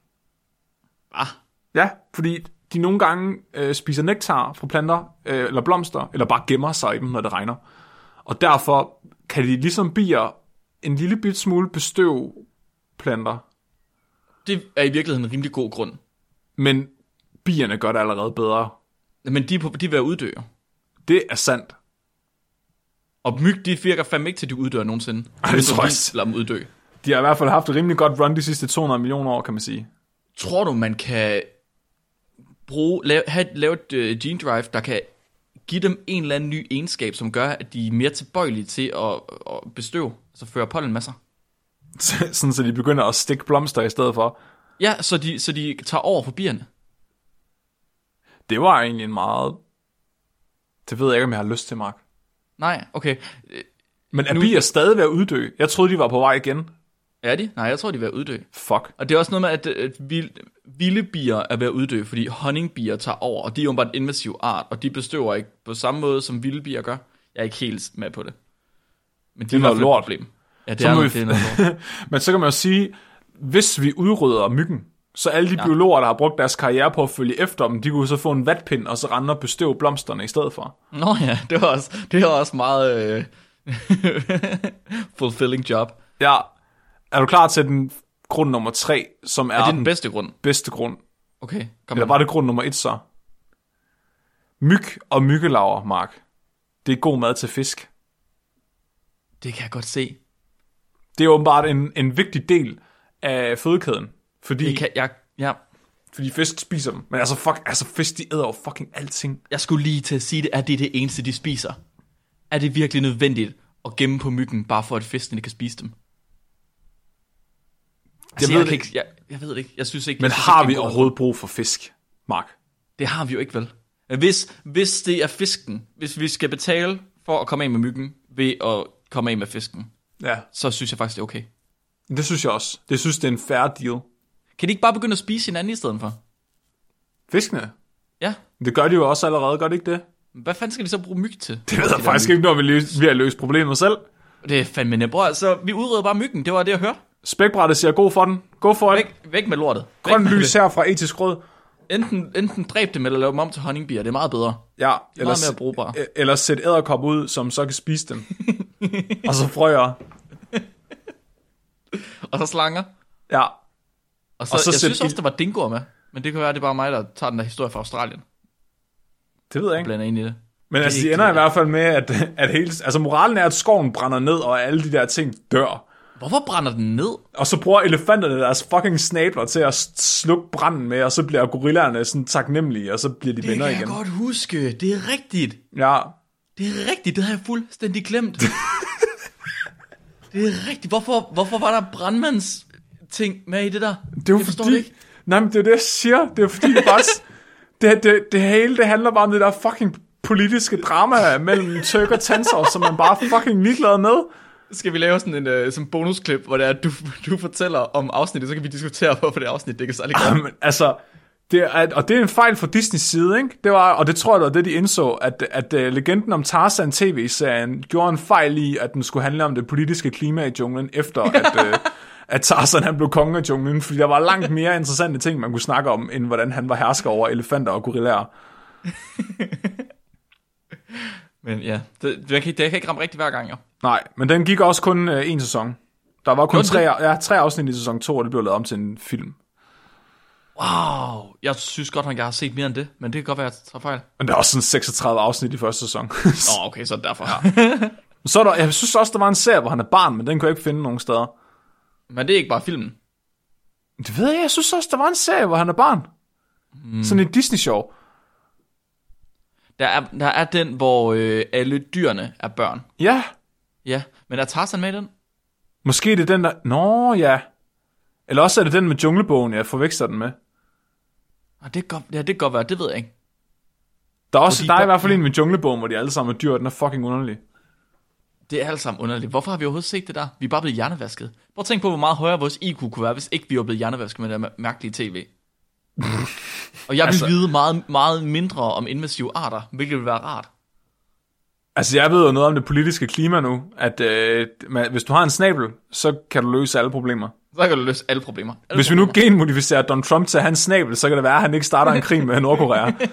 A: Ah,
B: Ja, fordi de nogle gange øh, spiser nektar fra planter, øh, eller blomster, eller bare gemmer sig i dem, når det regner. Og derfor kan de ligesom bier en lille bit smule bestøve planter.
A: det er i virkeligheden en rimelig god grund.
B: Men bierne gør det allerede bedre.
A: Men de, er på, de er ved at uddø. jo.
B: Det er sandt.
A: Og myg, de virker fandme ikke til, at de uddør nogensinde.
B: Ej, det tror jeg
A: Så vi lader dem uddø.
B: De har i hvert fald haft et rimelig godt run de sidste 200 millioner år, kan man sige.
A: Tror du, man kan bruge, lave, have, lave et øh, gene drive, der kan give dem en eller anden ny egenskab, som gør, at de er mere tilbøjelige til at, at bestøve, altså føre pollenmasser?
B: Så- Sådan, så de begynder at stikke blomster i stedet for.
A: Ja, så de, så de tager over for bierne.
B: Det var egentlig en meget... Det ved jeg ikke, om jeg har lyst til, Mark.
A: Nej, okay. Øh,
B: Men er
A: Nu-
B: bier stadig ved at uddø? Jeg troede, de var på vej igen.
A: Er de? Nej, jeg tror, de er ved at uddø.
B: Fuck.
A: Og det er også noget med, at, øh, at vild, vilde bier er ved at uddø, fordi honningbier tager over, og de er jo bare en invasiv art, og de bestøver ikke på samme måde, som vilde bier gør. Jeg er ikke helt med på det. Men de det
B: noget lort.
A: problem. Ja, det
B: Så
A: er,
B: må
A: noget,
B: vi-
A: det er noget lort.
B: Men så kan man jo sige, hvis vi udrydder myggen, så alle de ja. biologer, der har brugt deres karriere på at følge efter dem, de kunne så få en vatpind, og så rende og bestøve blomsterne i stedet for.
A: Nå ja, det var også, det var også meget øh, fulfilling job.
B: Ja, er du klar til den grund nummer tre, som er,
A: Er
B: er
A: det
B: den
A: den bedste grund?
B: bedste grund?
A: Okay, kom
B: Eller
A: med.
B: var det grund nummer et så? Myg og myggelaver, Mark. Det er god mad til fisk.
A: Det kan jeg godt se.
B: Det er åbenbart en, en vigtig del af fødekæden. Fordi,
A: Det kan, jeg, ja,
B: fordi fisk spiser dem. Men altså, fuck, altså fisk, de æder jo fucking alting.
A: jeg skulle lige til at sige det, at det er det eneste, de spiser. Er det virkelig nødvendigt at gemme på myggen, bare for at fiskene kan spise dem? Altså, jeg,
B: ved
A: jeg,
B: det
A: kan ikke, jeg, jeg ved det ikke. Jeg synes ikke.
B: Men
A: jeg synes
B: har
A: ikke, det
B: vi
A: er en god-
B: overhovedet brug for fisk, Mark?
A: Det har vi jo ikke, vel? Hvis, hvis det er fisken, hvis vi skal betale for at komme af med myggen ved at komme af med fisken,
B: Ja.
A: så synes jeg faktisk, det er okay.
B: Det synes jeg også. Det synes, det er en fair deal.
A: Kan de ikke bare begynde at spise hinanden i stedet for?
B: Fiskene?
A: Ja.
B: Det gør de jo også allerede, gør det ikke det?
A: Hvad fanden skal de så bruge myg til?
B: Det ved jeg faktisk ikke, når vi løs, vi har løst problemet selv.
A: Det er fandme nemt. Bror, så vi udrydder bare myggen. Det var det, jeg hørte.
B: Spækbrættet siger god for den. Go for it.
A: Væk, væk med lortet. Væk
B: Grøn
A: med
B: lys her fra etisk råd.
A: det. Enten, enten dræb dem, eller lav dem om til honningbier. Det er meget bedre.
B: Ja,
A: meget mere brugbare.
B: e- eller sæt æderkop ud, som så kan spise dem. og så frøer.
A: Og så slanger.
B: Ja,
A: Og så,
B: Og
A: og
B: så
A: så jeg
B: sæt
A: synes også,
B: ild-
A: der var dingoer med. Men det kan være, det er bare mig, der tager den der historie fra Australien.
B: det ved jeg ikke.
A: Blander ind i det.
B: Men altså, de
A: ikke-
B: ender i hvert fald med, at, at hele, altså moralen er, at skoven brænder ned, og alle de der ting dør.
A: Hvorfor brænder den ned?
B: Og så bruger elefanterne deres fucking snabler til at s- slukke branden med, og så bliver gorillaerne sådan taknemmelige, og så bliver de
A: Det
B: venner
A: kan
B: igen.
A: jeg godt huske. Det er rigtigt.
B: Ja,
A: Det er rigtigt. Det havde jeg fuldstændig glemt. det er rigtigt. Hvorfor, hvorfor var der brandmands ting med i det der?
B: det er jo
A: jeg forstår
B: fordi...
A: det ikke.
B: Nej, men det er det, jeg siger. Det er fordi, det bare... s- det, det, det, hele, det handler bare om det der fucking politiske drama mellem tyrk og tanser, som man bare er fucking ligeglad med.
A: Skal vi lave sådan en øh, som bonusklip, hvor det er, at du, du fortæller om afsnittet, så kan vi diskutere, hvorfor det afsnit det ikke er særlig godt.
B: Jamen, altså, det er, og det er en fejl fra Disneys side, ikke? Det var, og det tror jeg, det var det, de indså, at, at uh, legenden om Tarzan tv-serien gjorde en fejl i, at den skulle handle om det politiske klima i junglen, efter at, uh, at Tarzan han blev konge af junglen, fordi der var langt mere interessante ting, man kunne snakke om, end hvordan han var hersker over elefanter og gorillaer.
A: Men ja, det, det, jeg, kan, det, jeg kan ikke ramme rigtigt hver gang, jo.
B: Nej, men den gik også kun uh, en sæson. Der var kun
A: Gjorde
B: tre,
A: den
B: ja, tre afsnit i sæson 2, og det blev lavet om til en film.
A: Wow, jeg synes godt, at jeg har set mere end det, men det kan godt være, at jeg tager fejl.
B: Men der er også sådan 36 afsnit i første sæson.
A: Nå, okay, så er det derfor. Ja.
B: så er der, jeg synes også, der var en serie, hvor han er barn, men den kunne jeg ikke finde nogen steder.
A: Men det er ikke bare filmen.
B: Det ved jeg, jeg synes også, der var en serie, hvor han er barn. Mm. Sådan en Disney-show.
A: Der er, der er den, hvor øh, alle dyrene er børn.
B: Ja,
A: Ja, men er Tarzan med i den?
B: måske det er den der... Nå, ja. Eller også er det den med junglebogen, jeg forveksler den med.
A: Ah, det kan godt, ja, det kan godt være, det ved jeg ikke.
B: Der er, også,
A: Fordi
B: der er i
A: der-
B: hvert fald en med junglebogen, hvor de alle sammen er dyr, og den er fucking underlig.
A: Det er alt sammen underligt. Hvorfor har vi overhovedet set det der? Vi er bare blevet hjernevasket. Prøv at tænke på, hvor meget højere vores IQ kunne være, hvis ikke vi var blevet hjernevasket med det der mær- mærkelige tv. Og jeg vil
B: Altså-
A: altså... vide meget, meget mindre om invasive arter, hvilket vil være rart.
B: Altså, jeg ved jo noget om det politiske klima nu, at øh, man, hvis du har en snabel, så kan du løse alle problemer.
A: Så kan du løse alle problemer. Alle
B: Hvis vi nu genmodificerer Donald Trump til hans snabel, så kan det være, at han ikke starter en krig med Nordkorea.
A: problemer.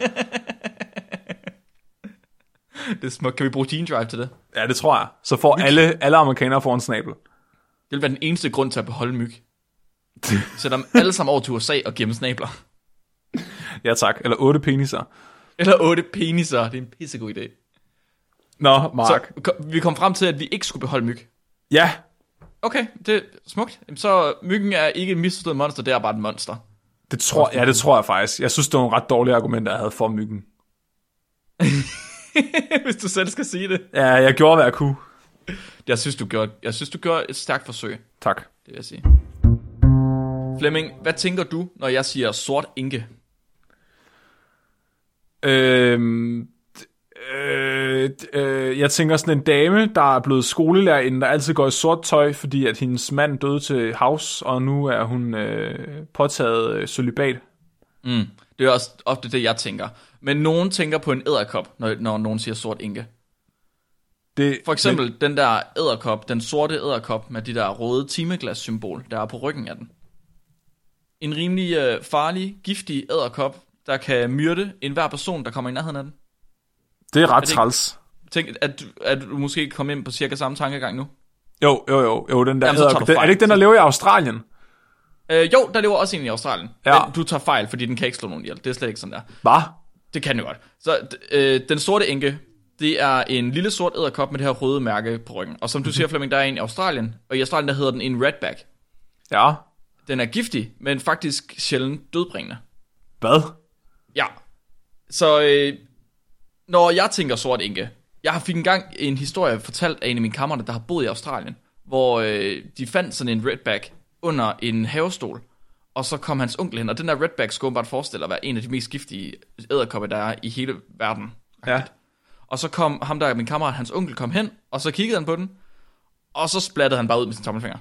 A: Det er smukt. Kan vi bruge Gene Drive til det?
B: Ja, det tror jeg. Så får alle, alle amerikanere får en snabel.
A: Det vil være den eneste grund til at beholde myg. Vi Sætter dem alle sammen over til USA og giver dem snabler.
B: Ja tak, eller otte peniser.
A: Eller otte peniser. Det er en pissegod idé.
B: Nå, Mark. Så...
A: Så kom- vi kom frem til, at vi ikke skulle beholde myg.
B: Ja,
A: Okay, det er smukt. Jamen, Så myggen er ikke et misforstået monster, det er bare et monster.
B: Det tror, ja, det tror jeg faktisk. Jeg synes, det var en ret dårlig argument, jeg havde for myggen.
A: Hvis du selv skal sige det.
B: Ja, jeg gjorde, hvad jeg kunne.
A: Jeg synes, du gjorde, jeg synes, du gjorde et stærkt forsøg,
B: Tak.
A: det vil jeg sige. Flemming, hvad tænker du, når jeg siger sort inke?
B: Øhm, d- øh, d- øh, jeg tænker sådan en dame, der er blevet skolelærerinde, der altid går i sort tøj, fordi at hendes mand døde til havs, og nu er hun øh, påtaget øh, solibat.
A: Mm, det er også ofte det, jeg tænker. Men nogen tænker på en æderkop, når, når nogen siger sort inke.
B: Det,
A: For eksempel men... den der æderkop, den sorte æderkop med de der røde timeglas-symbol, der er på ryggen af den. En rimelig øh, farlig, giftig æderkop, der kan myrde enhver person, der kommer i nærheden af den.
B: det er ret
A: det ikke-
B: træls.
A: Tænk, at, du- at du måske kan komme ind på cirka samme tankegang nu.
B: Jo, jo, jo, jo, den der
A: Jamen, så tager
B: hedder,
A: du
B: den, er
A: fejl.
B: det ikke den, der lever i Australien?
A: Øh, jo, der lever også en i Australien.
B: Ja.
A: Men Du tager fejl, fordi den kan ikke slå nogen ihjel. Det er slet ikke sådan der.
B: Hvad?
A: Det kan den jo godt. Så d- øh, den sorte enke, det er en lille sort æderkop med det her røde mærke på ryggen. Og som du siger, Flemming, der er en i Australien. Og i Australien, der hedder den en redback.
B: Ja.
A: Den er giftig, men faktisk sjældent dødbringende.
B: Hvad?
A: Ja. Så øh, når jeg tænker sort enke, jeg fik engang en historie fortalt af en af mine kammerater, der har boet i Australien, hvor øh, de fandt sådan en redback under en havestol, og så kom hans onkel hen, og den der redback skulle åbenbart forestille at være en af de mest giftige æderkopper, der er i hele verden.
B: Ja.
A: Og så kom ham der, min kammerat, hans onkel, kom hen, og så kiggede han på den, og så splattede han bare ud med sin tommelfinger.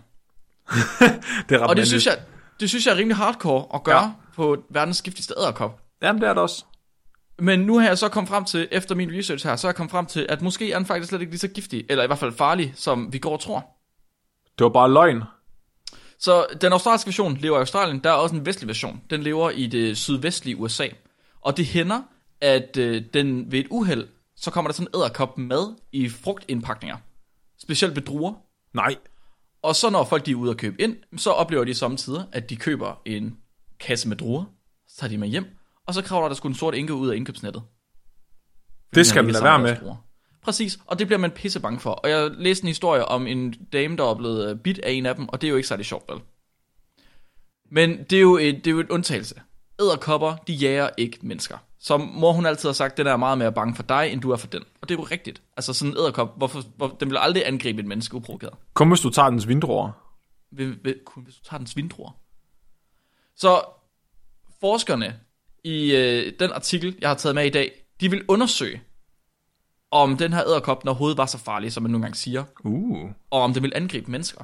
B: Det er ret
A: Og det
B: vanvittigt.
A: synes, jeg, det synes jeg er rimelig hardcore at gøre
B: Ja.
A: ja. på verdens giftigste æderkop.
B: Jamen, det er det også.
A: Men nu har jeg så kommet frem til, efter min research her, så er jeg kommet frem til, at måske er den faktisk slet ikke lige så giftig, eller i hvert fald farlig, som vi går og tror.
B: Det var bare løgn.
A: Så den australske version lever i Australien, der er også en vestlig version. Den lever i det sydvestlige USA. Og det hænder, at øh, den ved et uheld, så kommer der sådan en æderkop med i frugtindpakninger. Specielt ved druer.
B: Nej.
A: Og så når folk de er ude og købe ind, så oplever de samtidig, at de køber en kasse med druer, så tager de med hjem, og så kravler der sgu en sort enke ud af indkøbsnettet.
B: Det skal du lade være med.
A: Bruger. Præcis, og det bliver man pisse bange for. Og jeg læste en historie om en dame, der er blevet øh, bidt af en af dem, og det er jo ikke særlig sjovt, vel? Men det er jo et, det er jo et undtagelse. Æderkopper, de jager ikke mennesker. Som mor hun altid har sagt, den er meget mere bange for dig, end du er for den. Og det er jo rigtigt. Altså sådan en æderkop, hvorfor, hvor, den vil aldrig angribe et menneske uprovokeret.
B: Kun hvis du tager dens vindruer.
A: Ved, ved, kun hvis du tager dens vindruer. Så forskerne i øh, den artikel, jeg har taget med i dag, de vil undersøge, om den her æderkop, når hovedet var så farlig, som man nogle gange siger,
B: Uh.
A: og om den vil angribe mennesker.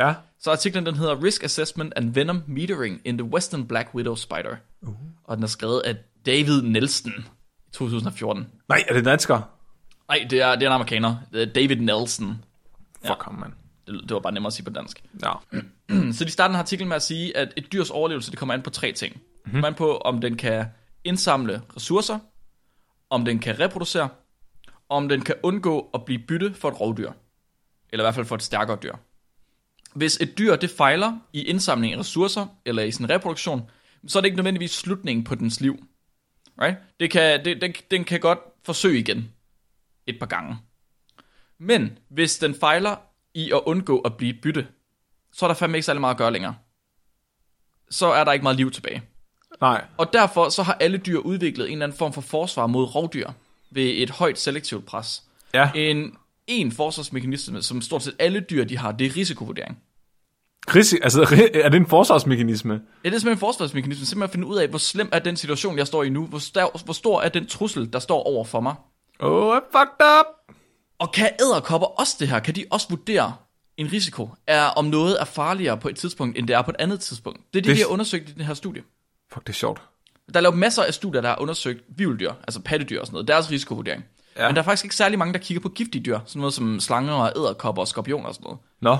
B: Ja.
A: Så artiklen den hedder Risk Assessment and Venom Metering in the Western Black Widow Spider. Uh. Og den er skrevet af David Nelson i 2014.
B: Nej, er det dansker?
A: Nej, det er, det er en amerikaner. Det er David Nelson.
B: Fuck ham, mand.
A: Det, det var bare nemmere at sige på dansk.
B: Ja.
A: Mm, Så de starter en artikel med at sige, at et dyrs overlevelse, det kommer an på tre ting. Det kommer an på, om den kan indsamle ressourcer, om den kan reproducere, og om den kan undgå at blive bytte for et rovdyr. Eller i hvert fald for et stærkere dyr. Hvis et dyr det fejler i indsamling af ressourcer, eller i sin reproduktion, så er det ikke nødvendigvis slutningen på dens liv. Right? Det kan, det, den, den kan godt forsøge igen et par gange. Men hvis den fejler i at undgå at blive et bytte, så er der fandme ikke særlig meget at gøre længere. Så er der ikke meget liv tilbage.
B: Nej.
A: Og derfor så har alle dyr udviklet en eller anden form for forsvar mod rovdyr ved et højt selektivt pres.
B: Ja.
A: En, en forsvarsmekanisme, som stort set alle dyr de har, det er risikovurdering.
B: Risi, altså, ri- er det en forsvarsmekanisme?
A: Ja, det er simpelthen en forsvarsmekanisme, simpelthen at finde ud af, hvor slem er den situation, jeg står i nu, hvor, stav, hvor stor er den trussel, der står over for mig.
B: Oh, I fucked up.
A: Og kan æderkopper også det her? Kan de også vurdere en risiko? Er om noget er farligere på et tidspunkt, end det er på et andet tidspunkt? Det er det,
B: Det-
A: det... de har undersøgt i den her studie.
B: Fuck, det er sjovt.
A: Der er lavet masser af studier, der har undersøgt vilddyr, altså pattedyr og sådan noget, deres risikovurdering.
B: Ja.
A: Ja. Men der er faktisk ikke særlig mange, der kigger på giftige dyr, sådan noget som slanger og æderkopper og skorpioner og sådan noget.
B: Nå.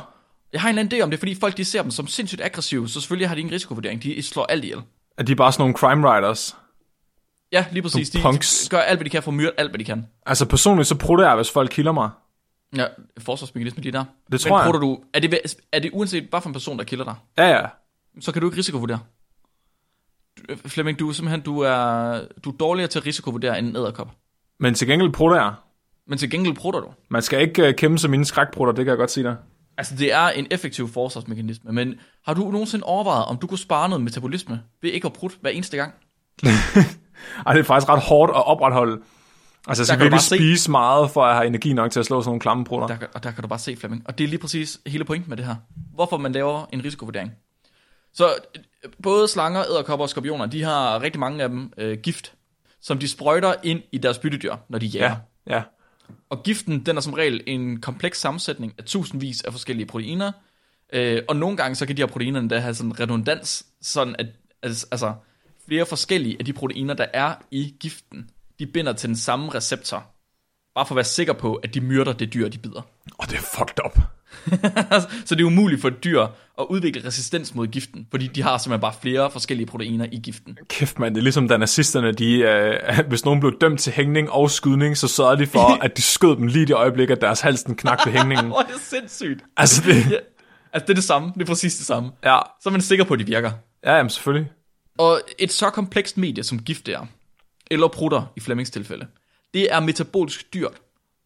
A: Jeg har en eller anden idé om det, fordi folk de ser dem som sindssygt aggressive, så selvfølgelig har de ingen risikovurdering, de slår alt ihjel.
B: Er de bare sådan nogle crime writers?
A: Ja, lige præcis. De,
B: punks.
A: de gør alt, hvad de kan for at myrde alt, hvad de kan.
B: Altså, personligt så prutter jeg, hvis folk kilder mig.
A: Ja, forsvarsmekanisme lige der.
B: Det tror jeg.
A: Men jeg. Du, er, det, ved- er det uanset, hvad for en person, der kilder dig,
B: Ja, ja.
A: så kan du ikke risikovurdere. Du- øh, Flemming, du er simpelthen du er, du er dårligere til at risikovurdere end en æderkop.
B: Men til gengæld prutter jeg.
A: Men til gengæld prutter du.
B: Man skal ikke uh, kæmpe som mine skrækprutter, det kan jeg godt sige dig.
A: Altså, det er en effektiv forsvarsmekanisme, men har du nogensinde overvejet, om du kunne spare noget metabolisme ved ikke at prutte hver eneste gang?
B: Ej, det er faktisk ret hårdt at opretholde. Altså, jeg
A: kan
B: skal
A: du
B: virkelig
A: bare se-
B: spise meget, for at have energi nok til at slå sådan nogle klamme prutter.
A: Der, kan- og der kan du bare se, Flemming. Og det er lige præcis hele pointen med det her. Hvorfor man laver en risikovurdering. Så øh, både slanger, æderkopper og skorpioner, de har rigtig mange af dem øh, gift, som de sprøjter ind i deres byttedyr, når de jager.
B: Ja,
A: Ja.
B: ja.
A: Og giften, den er som regel en kompleks sammensætning af tusindvis af forskellige proteiner. Øh, og nogle gange, så kan de her proteiner endda have sådan en redundans, sådan at altså, altså, flere forskellige af de proteiner, der er i giften, de binder til den samme receptor. bare for at være sikker på, at de myrder det dyr, de bider.
B: Og det er fucked up.
A: så det er umuligt for et dyr at udvikle resistens mod giften, fordi de har simpelthen bare flere forskellige proteiner i giften.
B: Kæft mand, det er ligesom da nazisterne, de, øh, hvis nogen blev dømt til hængning og skydning, så sørgede de for, at de skød dem lige i det øjeblik, at deres halsen knakte hængningen.
A: Åh, det er sindssygt.
B: Altså det,
A: Ja. Altså, det er det samme. Det er præcis det samme.
B: ja,
A: Så er man sikker på, at de virker.
B: ja jamen selvfølgelig.
A: Og et så komplekst medie som gift er, eller prutter i Flemmings tilfælde, det er metabolsk dyrt.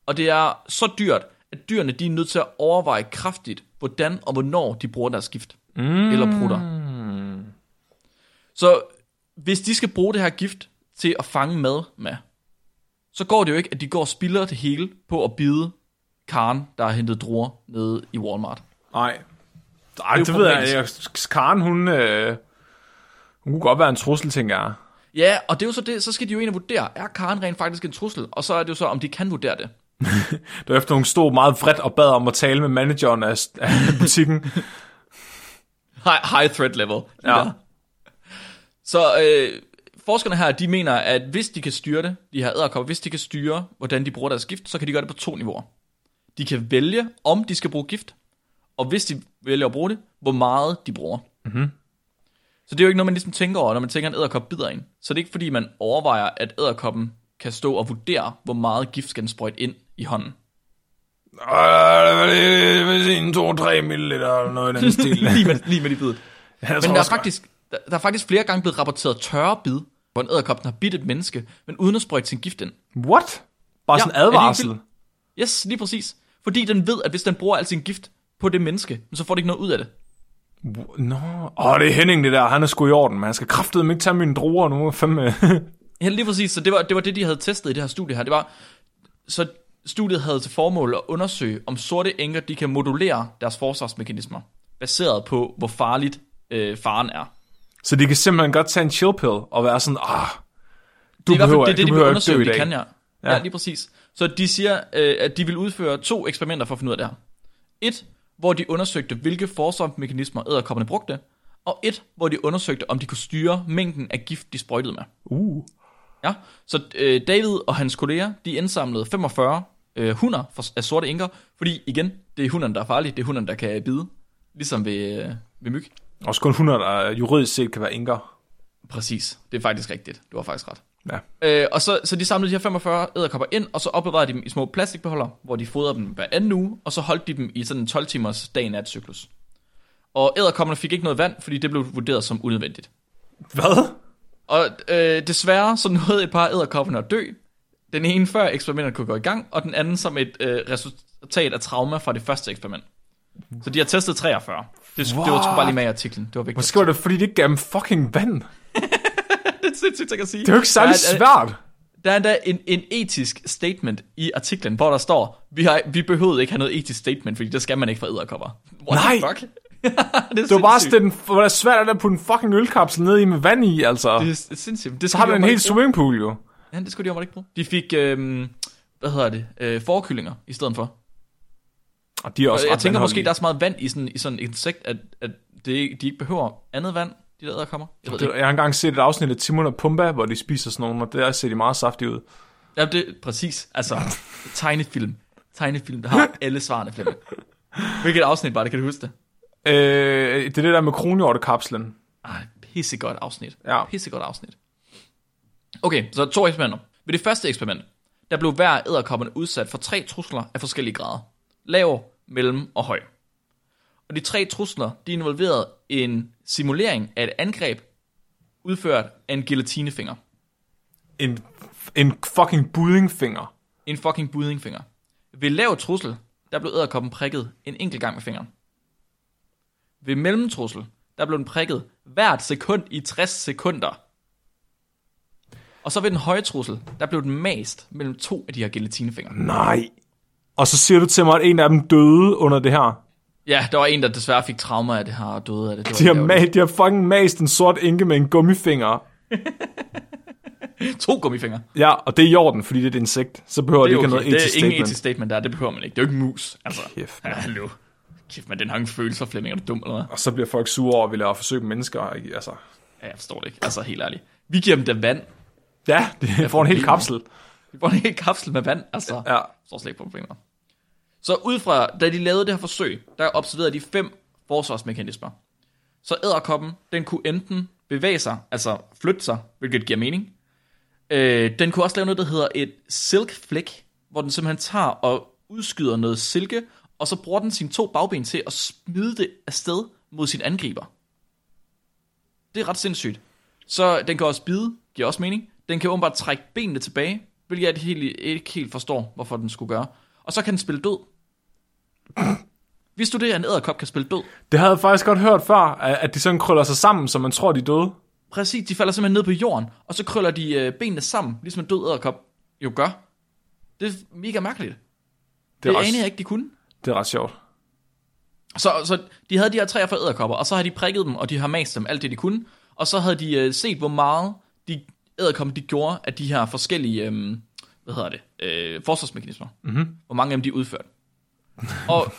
A: Og det er så dyrt, at dyrene de er nødt til at overveje kraftigt, hvordan og hvornår de bruger deres gift. Mm. Eller prutter. Så hvis de skal bruge det her gift til at fange mad med, så går det jo ikke, at de går og spilder det hele på at bide Karen, der har hentet druer nede i Walmart.
B: Nej. Ej,
A: jo
B: det, det ved jeg. jeg Karen, hun, øh, hun kunne godt være en trussel, tænker jeg.
A: Ja, og det er jo så det, så skal de jo ind og vurdere, er Karen rent faktisk en trussel? Og så er det jo så, om de kan vurdere det.
B: Derefter hun stod meget vredt og bad om at tale med manageren af, af butikken.
A: High, high threat level.
B: Ja.
A: Der. Så øh, forskerne her, de mener, at hvis de kan styre det, de her æderkopper, hvis de kan styre, hvordan de bruger deres gift, så kan de gøre det på to niveauer. De kan vælge, om de skal bruge gift, og hvis de vælger at bruge det, hvor meget de bruger. Mm-hmm.
B: Mhm.
A: Så det er jo ikke noget, man ligesom tænker over, når man tænker, at en æderkop bider en. Så det er ikke fordi, man overvejer, at æderkoppen kan stå og vurdere, hvor meget gift skal den sprøjte ind i hånden.
B: En, to, tre milliliter eller noget i den stil.
A: lige, med, lige med de bidet.
B: Jeg tror
A: Men der er,
B: også-
A: faktisk, der, der er faktisk flere gange blevet rapporteret tørre bid, hvor en æderkop den har bidt et menneske, men uden at sprøjte sin gift ind.
B: What? Bare
A: Ja,
B: sådan en
A: er det ikke
B: advarsel?
A: vildt? Yes, lige præcis. Fordi den ved, at hvis den bruger al sin gift på det menneske, så får det ikke noget ud af det.
B: Nå, åh, det er Henning det der, han er sgu i orden, men han skal kraftedeme ikke tage mine druer nu, øh. fandme.
A: Ja, lige præcis. Så det var, det var det, de havde testet i det her studie her. Det var, så studiet havde til formål at undersøge, om sorte enker de kan modulere deres forsvarsmekanismer, baseret på, hvor farligt øh, faren er.
B: så de kan simpelthen godt tage en chill pill og være sådan, ah, du
A: det er i
B: behøver,
A: hvert fald det, det,
B: du
A: de vil
B: behøver ikke dø
A: undersøge,
B: i
A: de
B: dag.
A: kan, ja. ja. Ja, lige præcis. Så de siger, øh, at de vil udføre to eksperimenter for at finde ud af det her. Et, hvor de undersøgte, hvilke forsvarsmekanismer æderkopperne brugte, og et, hvor de undersøgte, om de kunne styre mængden af gift, de sprøjtede med.
B: Uh,
A: Ja, så øh, David og hans kolleger, de indsamlede 45 øh, hunder for, af sorte inker, fordi igen, det er hunderne, der er farlige, det er hunderne, der kan bide, ligesom ved, øh, ved myg.
B: også kun 100, der øh, juridisk set kan være enker.
A: Præcis, det er faktisk rigtigt, du har faktisk ret.
B: Ja.
A: Øh, og så, så de samlede de her 45 æderkopper ind, og så opbevarede de dem i små plastikbeholder, hvor de fodrede dem hver anden uge, og så holdt de dem i sådan en 12-timers dag-nat-cyklus. Og æderkopperne fik ikke noget vand, fordi det blev vurderet som unødvendigt.
B: Hvad?
A: Og øh, desværre så nåede et par af æderkopperne at dø. Den ene før eksperimentet kunne gå i gang, og den anden som et øh, resultat af trauma fra det første eksperiment. Så de har testet 43. Det, wow. det var sgu bare lige med i artiklen. Det var vigtigt.
B: Måske var det, fordi det ikke gav dem fucking vand. Det
A: det er sindssygt, jeg kan sige. Det
B: er jo ikke særlig svært.
A: Der er endda en, en etisk statement i artiklen, hvor der står, vi, har, vi behøvede ikke have noget etisk statement, fordi det skal man ikke for æderkopper. What the
B: Nej.
A: fuck? det, er
B: Det var bare
A: sindssygt.
B: sådan, hvor det er svært at putte en fucking ølkapsel ned i med vand i, altså.
A: Det er s- sindssygt. Det
B: så har
A: skulle
B: du
A: de åbenbart
B: en hel
A: ikke bruge.
B: swimmingpool jo.
A: Ja, det skulle de åbenbart ikke bruge. De fik, øhm, hvad hedder det, øh, forkyllinger i stedet for.
B: Og de er også
A: Og jeg
B: ret
A: tænker måske,
B: vandholdige.
A: der er så meget vand i sådan, i sådan et insekt, at, at det, de ikke behøver andet vand, de der æderkopper. Jeg ved det,
B: Det- Jeg har engang set et afsnit af Timon og Pumba, hvor de spiser sådan nogle, og der ser de meget saftige ud.
A: Ja, det præcis. Altså, tegnefilm. Tegnefilm, der har alle svarene, Flemming. Hvilket afsnit var det, kan du huske det?
B: Øh, det er det der med kronhjortekapslen.
A: Ej, Ah, pissegodt afsnit.
B: Ja.
A: Pissegodt afsnit. Okay, så to eksperimenter. Ved det første eksperiment, der blev hver af æderkopperne udsat for tre trusler af forskellige grader. Lav, mellem og høj. Og de tre trusler, de involverede en simulering af et angreb, udført af en guilletinefinger.
B: En, en fucking buddingfinger.
A: En fucking budingfinger. Ved lav trussel, der blev æderkoppen prikket en enkelt gang med fingeren. Ved mellemtrussel, der blev den prikket hvert sekund i 60 sekunder. Og så ved den høje trussel, der blev den mast mellem to af de her gelatinefingre.
B: Nej. Og så siger du til mig, at en af dem døde under det her.
A: Ja, der var en, der desværre fik traumer af det her og døde af det. det var
B: De har,
A: ærgerligt.
B: ma- de har fucking mast en sort enke med en gummifinger.
A: To gummifingre.
B: Ja, og det er i orden, fordi det er et insekt. Så behøver det,
A: Det
B: det
A: er,
B: ikke
A: okay.
B: have noget
A: det
B: etisk
A: er ingen
B: statement.
A: etisk statement der, det behøver man ikke. Det er jo ikke en mus. Altså,
B: Kæft,
A: ja, hallo. Kæft, men den har ingen følelser, Flemming. Er du dum eller hvad?
B: Og så bliver folk sure over, at vi laver forsøg med mennesker. ikke? Altså.
A: Ja, jeg forstår det ikke. Altså, helt ærligt. Vi giver dem da vand.
B: Ja, det får en hel
A: problemer.
B: kapsel.
A: De får en hel kapsel med vand, altså.
B: Ja.
A: Står slet ikke på problemer. Så ud fra, da de lavede det her forsøg, der observerede de fem forsvarsmekanismer. Så æderkoppen, den kunne enten bevæge sig, altså flytte sig, hvilket giver mening. Øh, den kunne også lave noget, der hedder et silk flick, hvor den simpelthen tager og udskyder noget silke, og så bruger den sine to bagben til at smide det afsted mod sin angriber. Det er ret sindssygt. Så den kan også bide, giver også mening. Den kan åbenbart trække benene tilbage, hvilket jeg helt- ikke helt forstår, hvorfor den skulle gøre. Og så kan den spille død. Vidste du det, at en æderkop kan spille død?
B: Det havde jeg faktisk godt hørt før, at at de sådan krøller sig sammen, så man tror, de er døde.
A: Præcis, de falder simpelthen ned på jorden, og så krøller de øh, benene sammen, ligesom en død æderkop jo gør. Det er mega mærkeligt. Det, det
B: ret-
A: anede jeg ikke, de kunne.
B: Det er ret sjovt.
A: Så, så de havde de her træer for æderkopper, og så har de prikket dem, og de har mast dem alt det, de kunne. Og så havde de øh, set, hvor meget de æderkopper, de gjorde af de her forskellige, øh, hvad hedder det, øh, forsvarsmekanismer. Mm-hmm. Hvor mange af dem, de udførte. og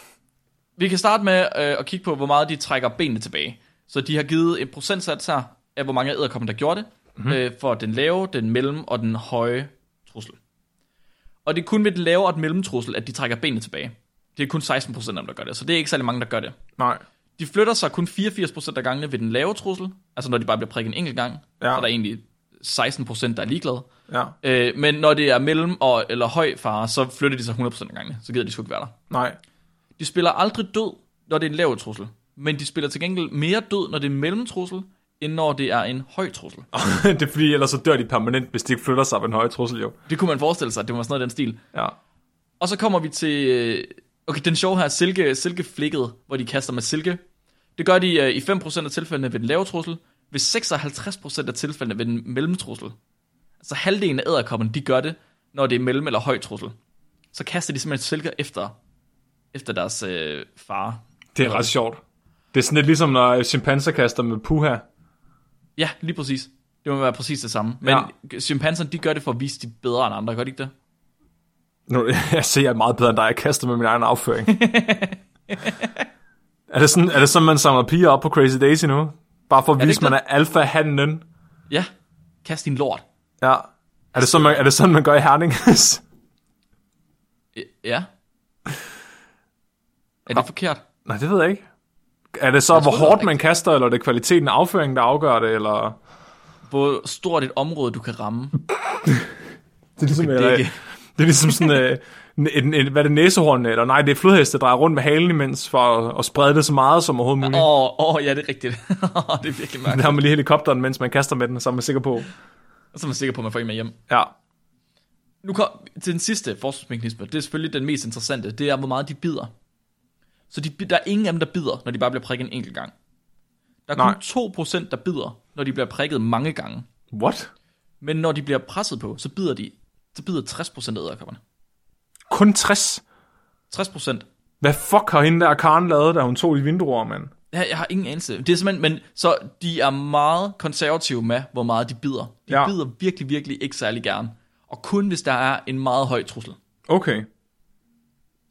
A: vi kan starte med øh, at kigge på, hvor meget de trækker benene tilbage. Så de har givet en procentsats her, af hvor mange af æderkoppen, der gjorde det, mm-hmm. øh, for den lave, den mellem og den høje trussel. Og det er kun ved den lave og den mellemtrussel, at de trækker benene tilbage. Det er kun 16% af dem, der gør det, så det er ikke særlig mange, der gør det.
B: Nej.
A: De flytter sig kun 84% af gangene ved den lave trussel, altså når de bare bliver prikket en enkelt gang, ja. så er der egentlig 16% der er ligeglade.
B: Ja.
A: Øh, men når det er mellem og, eller høj fare, så flytter de sig 100% af gangene, så gider de sgu ikke være der.
B: Nej.
A: De spiller aldrig død, når det er en lav trussel, men de spiller til gengæld mere død, når det er en mellemtrussel, end når det er en høj trussel.
B: det er fordi, ellers så dør de permanent, hvis de ikke flytter sig ved en høj trussel, jo.
A: Det kunne man forestille sig, at det var sådan noget i den stil.
B: Ja.
A: Og så kommer vi til... øh, Okay, den sjove her, silke, silkeflikket, hvor de kaster med silke. Det gør de øh, i 5% af tilfældene ved den lave trussel, ved 56% af tilfældene ved den mellemtrussel. Altså halvdelen af æderkopperne, de gør det, når det er mellem- eller høj trussel. Så kaster de simpelthen silker efter, efter deres øh, fare.
B: Det er ret sjovt. Det er sådan lidt ligesom, når chimpanser kaster med puha.
A: Ja, lige præcis. Det må være præcis det samme. Men ja. chimpanserne, de gør det for at vise, de er bedre end andre, gør de ikke det?
B: Nu, jeg ser, jeg er meget bedre end dig. Jeg kaster med min egen afføring. er, det sådan, er det sådan, man samler piger op på Crazy Daisy nu? Bare for at
A: det
B: vise,
A: ikke
B: man er alfa-handen.
A: Ja, kast din lort.
B: Ja. Er det, sådan, man, er det sådan, man gør i Herning?
A: Ja. Er det forkert?
B: Nej, det ved jeg ikke. Er det så, hvor
A: troede, det var
B: hårdt man
A: rigtigt.
B: kaster, eller er det kvaliteten af afføringen, der afgør det, eller...
A: hvor stort et område, du kan ramme.
B: Det er ligesom,
A: Det er
B: det,
A: ikke-
B: det er ligesom sådan, øh, en, en, en, hvad er det, næsehornene, eller nej, det er flodheste, der drejer rundt med halen imens, for at, at sprede det så meget som overhovedet muligt.
A: Åh, oh, oh, ja, det er rigtigt. det er virkelig
B: Der
A: mærkeligt.
B: har man lige helikopteren, mens man kaster med den, så er man sikker på.
A: Så er man sikker på, at man får en med hjem.
B: Ja,
A: Nu kom, til den sidste forsvarsmekanisme. Det er selvfølgelig den mest interessante. Det er, hvor meget de bider. Så de, bi- der er ingen af dem, der bider, når de bare bliver prikket en enkelt gang. Der er
B: Nej.
A: kun 2% der bider, når de bliver prikket mange gange.
B: what?
A: Men når de bliver presset på, så bider de så bider 60% af æderkopperne.
B: Kun 60?
A: 60%.
B: Hvad fuck har hende der Karen lavet, da hun tog de vinduer, mand?
A: Jeg, jeg har ingen anelse. Det er simpelthen, men så de er meget konservative med, hvor meget de bider. De
B: Ja.
A: ja. bider virkelig, virkelig ikke særlig gerne. Og kun hvis der er en meget høj trussel.
B: Okay.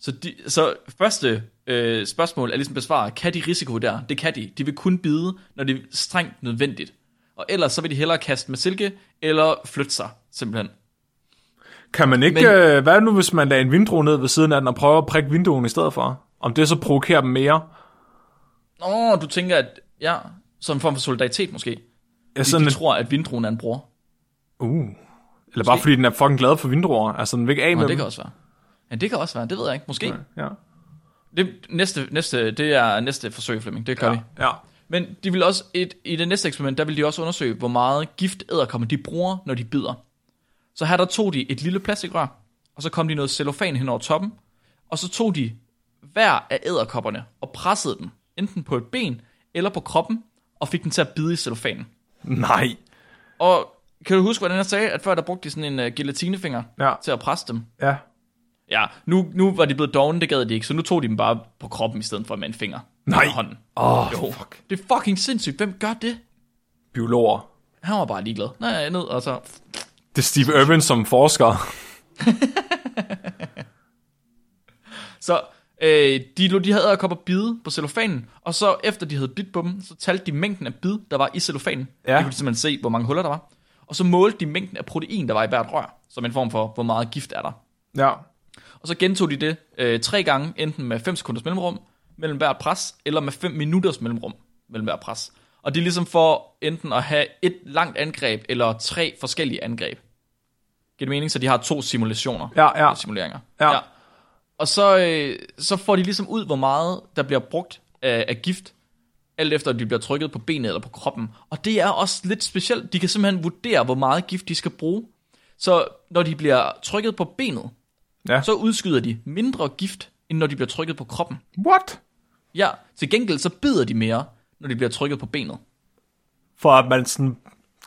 A: Så, de, så første øh, spørgsmål er ligesom besvaret, kan de risiko der? Det kan de. De vil kun bide, når det er strengt nødvendigt. Og ellers så vil de hellere kaste med silke, eller flytte sig, simpelthen.
B: Kan man ikke,
A: Men-
B: Men... øh, hvad nu, hvis man lader en vindue ned ved siden af den og prøver at prikke vinduen i stedet for? Om det så provokerer dem mere?
A: Nå, du tænker, at ja, som en form for solidaritet måske.
B: Ja,
A: Sådan
B: sådan
A: de, de
B: lidt,
A: tror, at vindruen er en bror.
B: uh. Eller bare fordi den er fucking glad for vinduer. Altså, den vil ikke af
A: Nå,
B: med
A: det
B: dem.
A: kan også være. Ja, det kan også være. Det ved jeg ikke. Måske.
B: Ja.
A: Det, næste, næste, det er næste forsøg, Flemming. Det gør ja. vi.
B: ja.
A: Men de vil også, et, i det næste eksperiment, der vil de også undersøge, hvor meget gift æderkommer de bruger, når de bider. Så her der tog de et lille plastikrør, og så kom de noget cellofan hen over toppen, og så tog de hver af æderkopperne og pressede dem, enten på et ben eller på kroppen, og fik den til at bide i cellofanen.
B: Nej.
A: Og kan du huske, hvordan jeg sagde, at før der brugte de sådan en uh, gelatinefinger
B: Ja.
A: til at presse dem?
B: Ja.
A: Ja, nu, nu var de blevet dogne, det gad de ikke, så nu tog de dem bare på kroppen i stedet for med en finger.
B: Nej.
A: Med hånden.
B: Åh,
A: Jo,
B: oh,
A: fuck. det er fucking sindssygt. Hvem gør det?
B: biologer.
A: Han var bare ligeglad. Nej, altså. ned, og så...
B: Det er Steve Irwin som forsker.
A: Så øh, de lå de her æderkopper bide på cellofanen, og så efter de havde bidt på dem, så talte de mængden af bid, der var i cellofanen.
B: Ja.
A: Det kunne de simpelthen se, hvor mange huller der var. Og så målte de mængden af protein, der var i hvert rør. som en form for, hvor meget gift er der.
B: Ja.
A: Og så gentog de det øh, tre gange, enten med 5 sekunders mellemrum mellem hvert pres, eller med 5 minutters mellemrum mellem hvert pres. Og det er ligesom for enten at have et langt angreb, eller tre forskellige angreb. Giver det mening? Så de har to simulationer.
B: Ja, ja.
A: Simuleringer.
B: Ja.
A: Og så, øh, så får de ligesom ud, hvor meget der bliver brugt af, af gift, alt efter, at de bliver trykket på benet eller på kroppen. Og det er også lidt specielt. De kan simpelthen vurdere, hvor meget gift de skal bruge. Så når de bliver trykket på benet,
B: Ja.
A: så udskyder de mindre gift, end når de bliver trykket på kroppen.
B: What?
A: Ja, til gengæld så bider de mere, når de bliver trykket på benet.
B: For at man sådan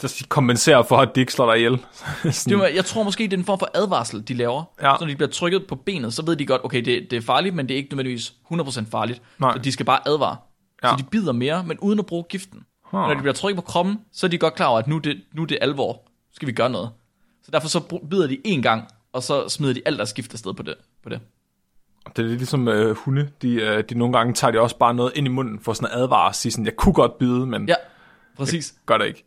B: der skal kompensere for, at de ikke slår dig ihjel.
A: Det
B: sådan,
A: var, jeg tror måske, det er en form for advarsel, de laver.
B: Ja.
A: Så når de bliver trykket på benet, så ved de godt, okay, det, det er farligt, men det er ikke nødvendigvis 100% farligt.
B: Nej.
A: Så de skal bare advare. Ja.
B: Ja.
A: Så de bider mere, men uden at bruge giften.
B: Huh.
A: Når de bliver trykket på kroppen, så er de godt klar over, at nu er det, nu er det alvor. Nu skal vi gøre noget. Så derfor så bru- bider de én gang, og så smider de alt deres gift afsted på det. På det.
B: det er lidt ligesom øh, hunde. De, øh, de nogle gange tager de også bare noget ind i munden for sådan at advare og sige sådan, jeg kunne godt bide, men
A: Ja, præcis.
B: gør det ikke.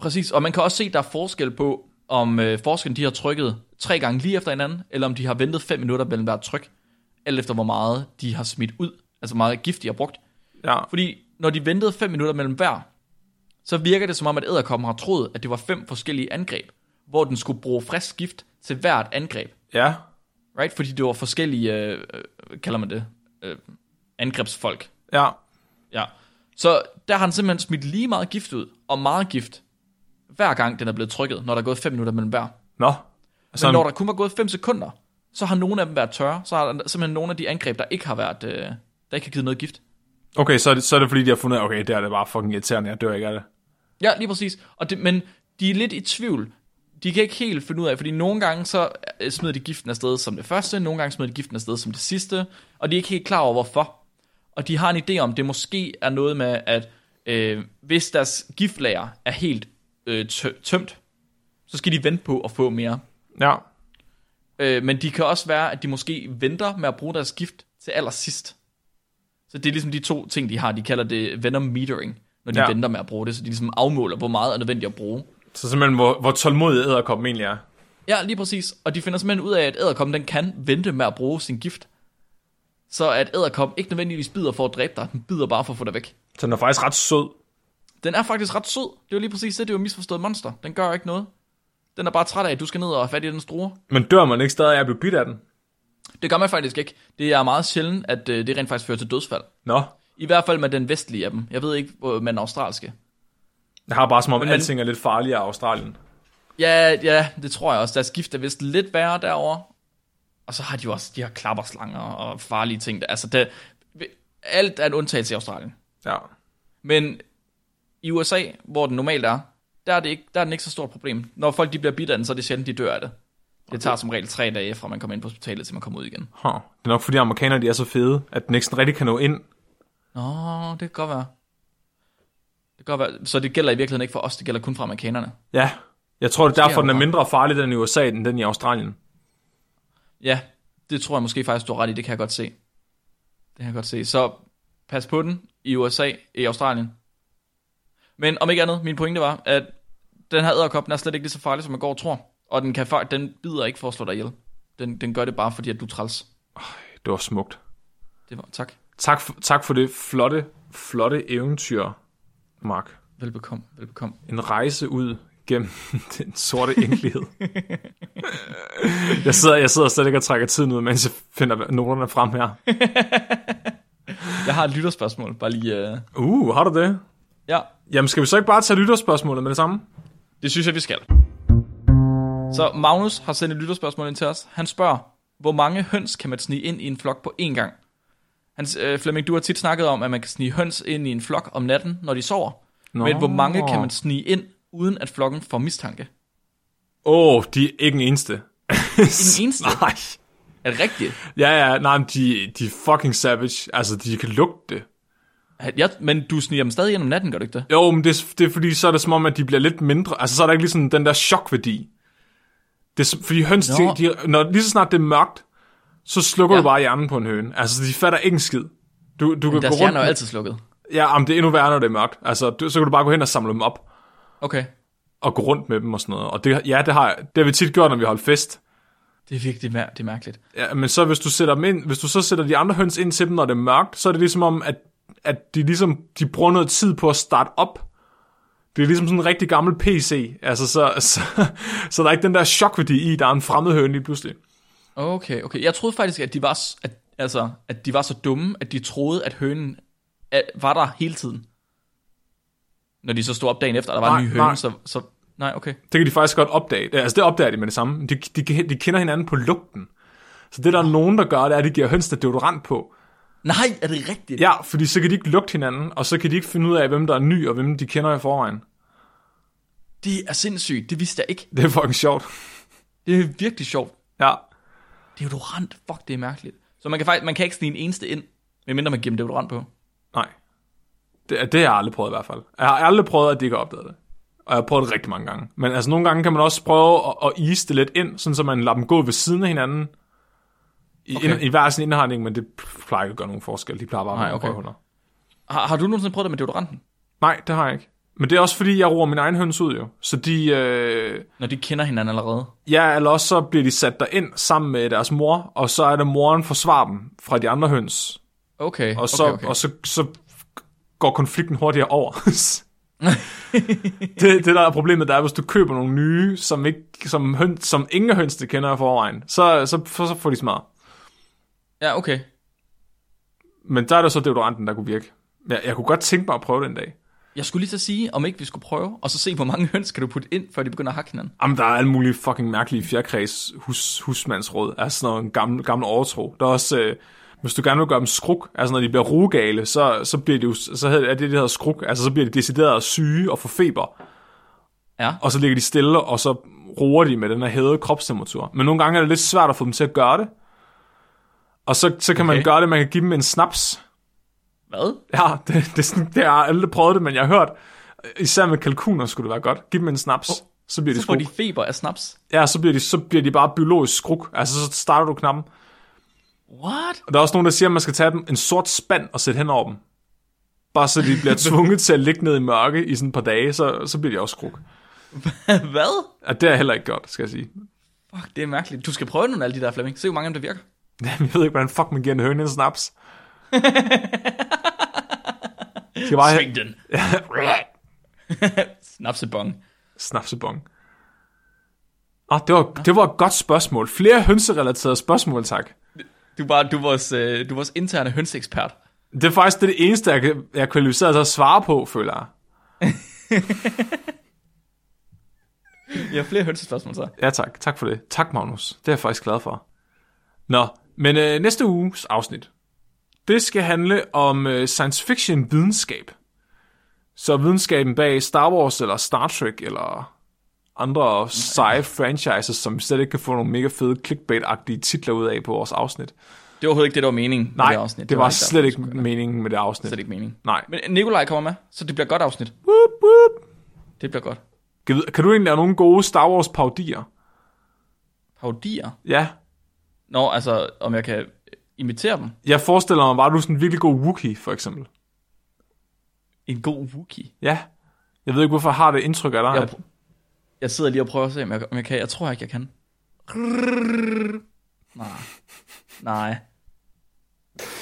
A: Præcis, og man kan også se, at der er forskel på, om øh, forskellen de har trykket tre gange lige efter hinanden, eller om de har ventet 5 minutter mellem hvert tryk, alt efter hvor meget de har smidt ud, altså hvor meget gift de har brugt.
B: Ja.
A: Fordi når de ventede 5 minutter mellem hver, så virker det som om, at æderkoppen har troet, at det var fem forskellige angreb, hvor den skulle bruge frisk gift til hvert angreb.
B: ja.
A: Right? Fordi det var forskellige, øh, øh, kalder man det, øh, angrebsfolk,
B: Ja.
A: Ja. Så der har han simpelthen smidt lige meget gift ud, og meget gift, hver gang den er blevet trykket, når der er gået 5 minutter mellem hver. Men
B: Nå. Så,
A: når der kun var gået 5 sekunder, så har nogle af dem været tørre, så har der simpelthen nogle af de angreb, der ikke har været, øh, der ikke har givet noget gift.
B: okay, så er, det, så er det fordi, de har fundet, ud af, okay, det er det bare fucking irriterende, jeg dør ikke af det.
A: Ja, lige præcis. Og det, men de er lidt i tvivl. De kan ikke helt finde ud af, fordi nogle gange så øh, smider de giften afsted som det første, nogle gange smider de giften afsted som det sidste, og de er ikke helt klar over hvorfor. Og de har en idé om, det måske er noget med, at øh, hvis deres giftlager er helt øh, tø- tømt, så skal de vente på at få mere.
B: Ja.
A: Øh, men de kan også være, at de måske venter med at bruge deres gift til allersidst. Så det er ligesom de to ting, de har. De kalder det venom metering, når de
B: Ja.
A: ja. venter med at bruge det. Så de ligesom afmåler, hvor meget er nødvendigt at bruge.
B: Så simpelthen, hvor, hvor tålmodig æderkoppen egentlig er.
A: Ja, lige præcis. Og de finder simpelthen ud af, at æderkoppen den kan vente med at bruge sin gift. Så at æderkoppen ikke nødvendigvis bider for at dræbe dig. Den bider bare for at få dig væk.
B: Så den er faktisk ret sød.
A: Den er faktisk ret sød. Det er jo lige præcis det. Det er jo et misforstået monster. Den gør ikke noget. Den er bare træt af, at du skal ned og have fat i den struer.
B: Men dør man ikke stadig af at blive bidt af den?
A: Det gør man faktisk ikke. Det er meget sjældent, at øh, det rent faktisk fører til dødsfald.
B: Nå.
A: I hvert fald med den vestlige af dem. Jeg ved ikke, hvor med den australske.
B: Jeg har bare som om, at
A: man-
B: alting er lidt farligere i Australien.
A: Ja, ja, det tror jeg også. Deres gift er vist lidt værre derovre. Og så har de jo også de her klapperslanger og farlige ting. Der. Altså, det, alt er en undtagelse i Australien.
B: Ja.
A: Men i USA, hvor den normalt er, der er, det ikke, der er den ikke så stort problem. Når folk de bliver bidt af den, så er det sjældent, de dør af det. Det tager som regel tre dage, fra man kommer ind på hospitalet, til man kommer ud igen.
B: Huh. Det er nok fordi amerikanere, de er så fede, at den ikke sådan rigtig kan nå ind.
A: Nå, det kan godt være. Det kan godt være. Så det gælder i virkeligheden ikke for os, det gælder kun for amerikanerne.
B: Ja. Jeg tror, det er derfor,
A: er
B: den er
A: det
B: mindre farlig den i USA, end den i Australien.
A: Ja, det tror jeg måske faktisk, du har ret i. Det kan jeg godt se. Det kan jeg godt se. Så pas på den i USA, i Australien. Men om ikke andet, min pointe var, at den her æderkop, den er slet ikke lige så farlig, som man går og tror. Og den, kan, fa- den bider ikke for at slå dig ihjel. Den, den gør det bare, fordi at du er træls.
B: Det var smukt.
A: Det var, tak.
B: Tak for, tak for det flotte, flotte eventyr, Mark.
A: Velbekomme, velbekomme.
B: En rejse ud gennem den sorte enkelighed. jeg, sidder, jeg sidder slet ikke og trækker tiden ud, mens jeg finder noterne frem her.
A: Jeg har et lytterspørgsmål, bare lige... Uh...
B: Uh, har du det?
A: Ja,
B: Jamen, skal vi så ikke bare tage lytterspørgsmålet med det samme?
A: det synes jeg, vi skal. Så Magnus har sendt et lytterspørgsmål ind til os. Han spørger, hvor mange høns kan man snige ind i en flok på én gang? Hans, øh, Flemming, du har tit snakket om, at man kan snige høns ind i en flok om natten, når de sover. Nå. Men hvor mange kan man snige ind, uden at flokken får mistanke?
B: Åh, oh, de er ikke en eneste.
A: En eneste?
B: Nej.
A: Er det rigtigt?
B: Ja, ja, nej, men de, de er fucking savage. Altså, de kan lugte det.
A: Ja, men du sniger dem stadig ind om natten, gør du ikke det?
B: Jo, men det, det er fordi, så er det som om, at de bliver lidt mindre. Altså, så er der ikke lige sådan den der chokværdi. Det er, som- fordi høns, de,
A: Nå.
B: de, når lige så snart det er mørkt, så
A: Ja.
B: slukker ja. du bare hjernen på en høne. Altså, de fatter ikke en skid. Du, du kan gå
A: Deres
B: rundt...
A: hjerner er altid slukket.
B: Ja, jamen, det er endnu værre, når det er mørkt. Altså, du, så kan du bare gå hen og samle dem op.
A: Okay.
B: at gå rundt med dem og sådan noget. Og det, ja, det har, det har vi tit gjort, når vi har holdt fest.
A: Det er virkelig mær- det er mærkeligt.
B: Ja, men så hvis du, sætter dem ind, hvis du så sætter de andre høns ind til dem, når det er mørkt, så er det ligesom om, at, at de, ligesom, de bruger noget tid på at starte op. Det er ligesom sådan en rigtig gammel PC. Altså, så, så, så der er ikke den der chokværdi i, der er en fremmed høne lige pludselig.
A: Okay, okay. Jeg troede faktisk, at de var, s- at, altså, at de var så dumme, at de troede, at hønen at, var der hele tiden. Når de så stod op dagen efter, og der var
B: Nej,
A: en ny
B: nej.
A: høne, så, så... Nej, okay.
B: Det kan de faktisk godt opdage. Altså det opdager de med det samme. De, de, de kender hinanden på lugten. Så det der er nogen, der gør, det er, at de giver høns der deodorant på.
A: Nej, er det rigtigt?
B: Ja, fordi så kan de ikke lugte hinanden, og så kan de ikke finde ud af, hvem der er ny, og hvem de kender i forvejen.
A: Det er sindssygt. Det vidste jeg ikke.
B: Det er fucking sjovt.
A: Det er virkelig sjovt.
B: Ja.
A: Deodorant, fuck, det er mærkeligt. Så man kan faktisk man kan ikke snige en eneste ind, medmindre man giver dem deodorant på.
B: Nej. Det, det har jeg aldrig prøvet i hvert fald. Jeg har aldrig prøvet, at de ikke har opdaget det. Og jeg har prøvet det rigtig mange gange. Men altså nogle gange kan man også prøve at, at ease det lidt ind, sådan så man lader dem gå ved siden af hinanden. I,
A: Okay.
B: okay. ind, i hver sin indhegning, men det plejer ikke at gøre nogen forskel. De plejer bare at
A: Nej,
B: være
A: okay.
B: røvhuller.
A: Har, har du nogensinde prøvet det med deodoranten?
B: Nej, det har jeg ikke. Men det er også fordi, jeg roer min egen høns ud jo. Så de, øh,
A: Når de kender hinanden allerede.
B: ja, eller også så bliver de sat derind sammen med deres mor, og så er det moren forsvarer dem fra de andre høns.
A: Okay,
B: Og så,
A: okay, okay.
B: og så, så går konflikten hurtigere over. det, det, der er problemet, der er, hvis du køber nogle nye, som, ikke, som, høn, som ingen af hønsene kender i forvejen, så, så, så, så får de smadret.
A: Ja, okay.
B: Men der er det så deodoranten, der kunne virke. Jeg, jeg kunne godt tænke mig at prøve den dag.
A: Jeg skulle lige så sige, om ikke vi skulle prøve, og så se, hvor mange høns kan du putte ind, før de begynder at hakke hinanden.
B: Jamen, der er alle mulige fucking mærkelige fjerkreds hus, husmandsråd. Altså sådan noget gammel, gammel overtro. Der er også, øh, hvis du gerne vil gøre dem skruk, altså når de bliver rugale, så, så bliver de jo, så hedder, er det det, der hedder skruk. Altså så bliver de decideret syge og får feber.
A: Ja.
B: Og så ligger de stille, og så roer de med den her hævede kropstemperatur. Men nogle gange er det lidt svært at få dem til at gøre det. Og så, så kan okay. man
A: Okay.
B: gøre det, man kan give dem en snaps.
A: Hvad?
B: Ja, det, det, er sådan- det har jeg aldrig prøvet det, men jeg har hørt, især med kalkuner skulle det være godt. Giv dem en snaps, oh, så bliver de
A: Så får
B: skruk.
A: de feber af snaps.
B: Ja, så bliver de, så bliver de bare biologisk skruk. Altså, så starter du knappen.
A: What?
B: Og der er også nogen, der siger, at man skal tage dem en sort spand og sætte hen over dem. Bare så de bliver tvunget til at ligge ned i mørke i sådan et par dage, så, så bliver de også skruk.
A: Hvad?
B: Ja, det er heller ikke godt, skal jeg sige.
A: Fuck, det er mærkeligt. Du skal prøve nogle af alle de der, Flemming. Se, hvor mange af dem, der virker.
B: Jeg ved ikke, hvordan fuck man giver en høne en snaps. De skal bare have
A: Sving den. Snapsebong.
B: snapsebong. Ah, det var, det var et godt spørgsmål. Flere hønserelaterede spørgsmål, tak.
A: Du var, du er vores, øh, du er vores interne hønseekspert.
B: Det er faktisk det, det eneste, jeg, kan- jeg er kvalificeret til at svare på, føler jeg.
A: Jeg har flere hønsespørgsmål, så.
B: Ja tak, tak for det. Tak Magnus, det er jeg faktisk glad for. Nå, men øh, næste uges afsnit, det skal handle om øh, science fiction videnskab. Så videnskaben bag Star Wars eller Star Trek eller andre seje franchises, som vi slet ikke kan få nogle mega fede clickbait-agtige titler ud af på vores afsnit.
A: Det var overhovedet ikke det, der var meningen med
B: Nej,
A: det afsnit.
B: det var
A: der-
B: slet ikke meningen med det afsnit.
A: slet ikke meningen.
B: Nej.
A: Men Nikolaj kommer med, så det bliver et godt afsnit.
B: Woop, woop.
A: Det bliver godt.
B: Kan du- Kan du egentlig have nogle gode Star Wars-paudier?
A: Parodier.
B: Ja,
A: Nå, altså, om jeg kan imitere dem.
B: jeg forestiller mig bare, at du er sådan en virkelig god Wookie for eksempel.
A: En god Wookie.
B: Ja. Jeg ved ikke, hvorfor jeg har det indtryk af dig.
A: Jeg,
B: at-
A: pr- jeg sidder lige og prøver at se, om jeg, om jeg kan. Jeg tror ikke, jeg kan. Nej. Nej.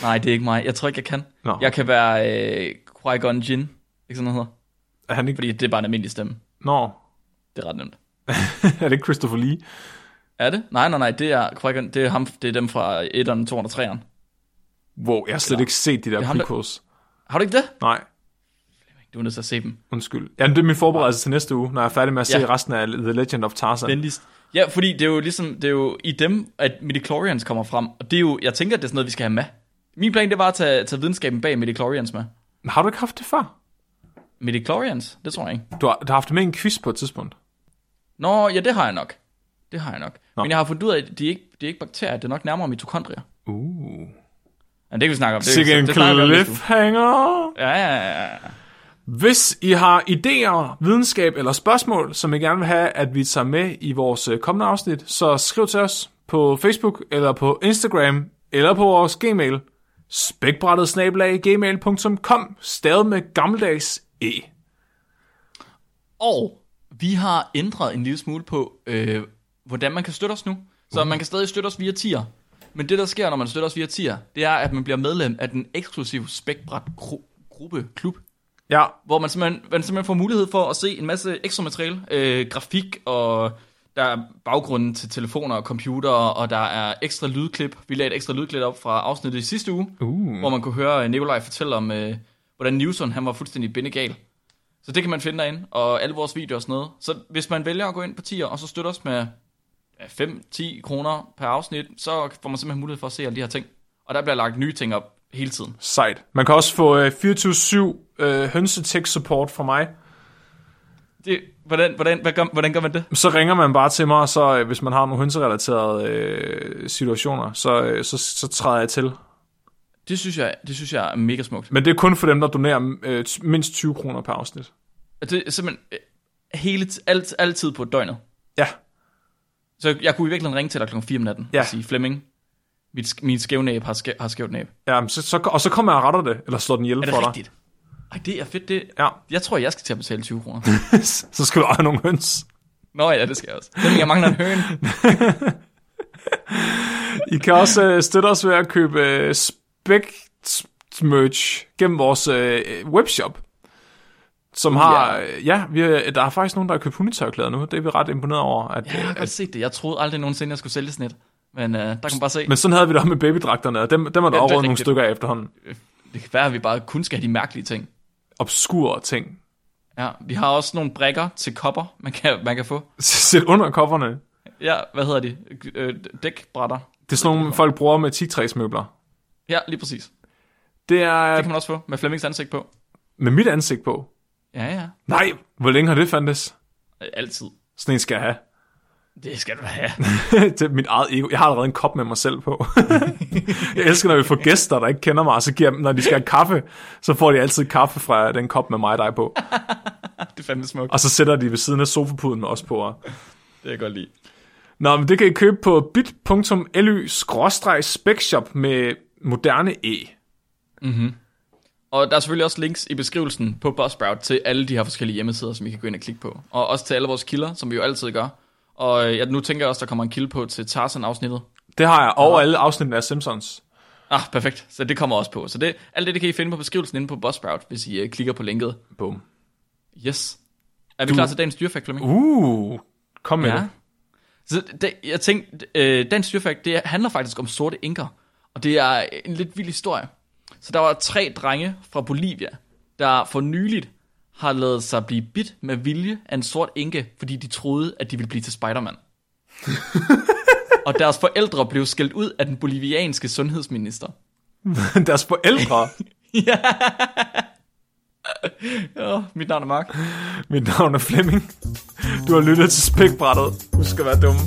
A: Nej, det er ikke mig. Jeg tror ikke, jeg kan.
B: Nå.
A: Jeg kan være øh, Qui-Gon Jinn. Ikke sådan noget hedder.
B: Er han ikke...
A: Fordi det er bare en almindelig stemme.
B: Nå,
A: Det er ret nemt.
B: er det ikke Christopher Lee?
A: Er det? Nej, nej, nej. Det er, Qui-Gon, det er, ham, det er dem fra 1'eren, 2'eren og 3'eren.
B: Wow, jeg har slet ikke set de der
A: er ham, der-
B: prequels.
A: Har du ikke det?
B: Nej,
A: Du er nødt til at se dem.
B: undskyld. Jamen, det er min forberedelse til næste uge, når jeg er færdig med at se
A: Ja.
B: resten af The Legend of Tarzan. Den...
A: Venligst. Ja, fordi det er jo ligesom, det er jo i dem, at midichlorians kommer frem. Og det er jo, jeg tænker, det er sådan noget, vi skal have med. Min plan, det var at tage, tage videnskaben bag midichlorians med.
B: Har du ikke haft det før?
A: Midichlorians? Det tror jeg ikke.
B: Du har, du har haft det med i en quiz på et tidspunkt.
A: Nå, ja, det har jeg nok. Det har jeg nok. Nå. Men jeg har fundet ud af, at det er ikke det er ikke bakterier, det er nok nærmere mitokondrier.
B: Uh.
A: Ja, det kan vi snakke om. Det,
B: Sikke en
A: det snakker vi om næste uge.
B: cliffhanger.
A: Ja, ja, ja, ja.
B: Hvis I har idéer, videnskab eller spørgsmål, som I gerne vil have, at vi tager med i vores øh, kommende afsnit, så skriv til os på Facebook eller på Instagram eller på vores Gmail. Spækbrættet snablag gmail.com stadig med gammeldags e.
A: Og Vi har ændret en lille smule på, øh, hvordan man kan støtte os nu.
B: Uh-huh.
A: Så man kan stadig støtte os via tier. Men det, der sker, når man støtter os via tier, det er, at man bliver medlem af den eksklusive spækbræt gru- gruppe, klub,
B: Ja,
A: hvor man simpelthen, man simpelthen får mulighed for at se en masse ekstra materiale, øh, grafik, og der er baggrunden til telefoner og computere, og der er ekstra lydklip. Vi lagde et ekstra lydklip op fra afsnittet i sidste uge, uh. hvor man kunne høre øh, Nikolaj fortælle om, øh, hvordan Newson han var fuldstændig bindegal. Så det kan man finde derinde, og alle vores videoer og sådan noget. Så hvis man vælger at gå ind på tier, og så støtter os med 5-10 kroner per afsnit, så får man simpelthen mulighed for at se alle de her ting. Og der bliver lagt nye ting op hele tiden.
B: sejt. Man kan også få øh, 24-7 øh, hønsetek-support fra mig.
A: Det, hvordan, hvordan, hvad gør, hvordan gør man det?
B: Så ringer man bare til mig, og så øh, hvis man har nogle hønserelaterede øh, situationer, så, øh, så, så træder jeg til.
A: Det synes jeg, det synes jeg er mega smukt.
B: Men det er kun for dem, der donerer øh, t- mindst 20 kroner per afsnit.
A: Og Det er simpelthen øh, hele, t- alt, altid på døgnet.
B: Ja,
A: Så jeg kunne i virkeligheden ringe til dig klokken 4 om natten
B: Ja.
A: og sige, Flemming, mit, sk- min skæve næb har, skæv, har skævt næb.
B: ja men så, så, og så kommer jeg og retter det, eller slår den ihjel
A: Er det
B: for dig.
A: rigtigt? Ej, det er fedt. Det,
B: Ja,
A: jeg tror, jeg skal til at betale 20 kroner.
B: så skal du eje nogle høns.
A: Nå ja, det skal jeg også. Flemming, jeg mangler en høne.
B: I kan også øh, støtte os ved at købe øh, Spect-merch gennem vores øh, webshop. Som har, ja, ja vi, har- der er faktisk nogen, der har købt hundetørklæder nu. Det er vi ret imponeret over. At, øh,
A: Jeg har
B: at,
A: godt set det. Jeg troede aldrig nogensinde, jeg skulle sælge sådan et. Men øh, der kan man bare se.
B: men sådan havde vi det også med babydragterne, og dem, dem er
A: Ja, det
B: der ja,
A: er
B: overhovedet nogle
A: rigtigt.
B: stykker af efterhånden.
A: Det kan være, at vi bare kun skal have de mærkelige ting.
B: Obskure ting.
A: Ja, vi har også nogle brækker til kopper, man kan, man kan få.
B: Sæt under kofferne.
A: Ja, hvad hedder de? Øh, dækbrætter.
B: Det er sådan nogle, folk bruger med 10 møbler.
A: Ja, lige præcis.
B: Det er
A: Det kan man også få med Flemmings ansigt på.
B: med mit ansigt på.
A: Ja, ja.
B: Nej, hvor længe har det fandtes?
A: Altid.
B: Sådan en skal jeg have.
A: Det skal du have.
B: det er mit eget ego. Jeg har allerede en kop med mig selv på. jeg elsker, når vi får gæster, der ikke kender mig, og så giver dem, når de skal have kaffe, så får de altid kaffe fra den kop med mig og dig på.
A: det er fandme smukt.
B: Og så sætter de ved siden af sofapuden med os på.
A: Det kan jeg godt lide.
B: Nå, men det kan I købe på bit.ly-specshop med moderne E.
A: Og der er selvfølgelig også links i beskrivelsen på Buzzsprout til alle de her forskellige hjemmesider, som I kan gå ind og klikke på. Og også til alle vores kilder, som vi jo altid gør. Og øh, jeg, nu tænker jeg også, der kommer en kilde på til Tarzan-afsnittet.
B: Det har jeg over alle afsnittene af Simpsons.
A: Ah, perfekt. Så det kommer også på. Så det, alt det, det kan I finde på beskrivelsen inde på Buzzsprout, hvis I øh, klikker på linket.
B: Boom.
A: Yes. Er vi klar til dagens dyrefakt, Flemming?
B: Uh, kom med ja.
A: Ja.
B: det.
A: Så det, jeg tænkte, øh, den styrfakt, det handler faktisk om sorte inker. Og det er en lidt vild historie. Så der var tre drenge fra Bolivia, der for nyligt har lavet sig blive bidt med vilje af en sort inke, fordi de troede, at de ville blive til Spider-Man. og deres forældre blev skældt ud af den bolivianske sundhedsminister.
B: Deres forældre.
A: Ja, mit navn er Mark.
B: Mit navn er Flemming. Du har lyttet til spækbrættet. Husk at være dumme.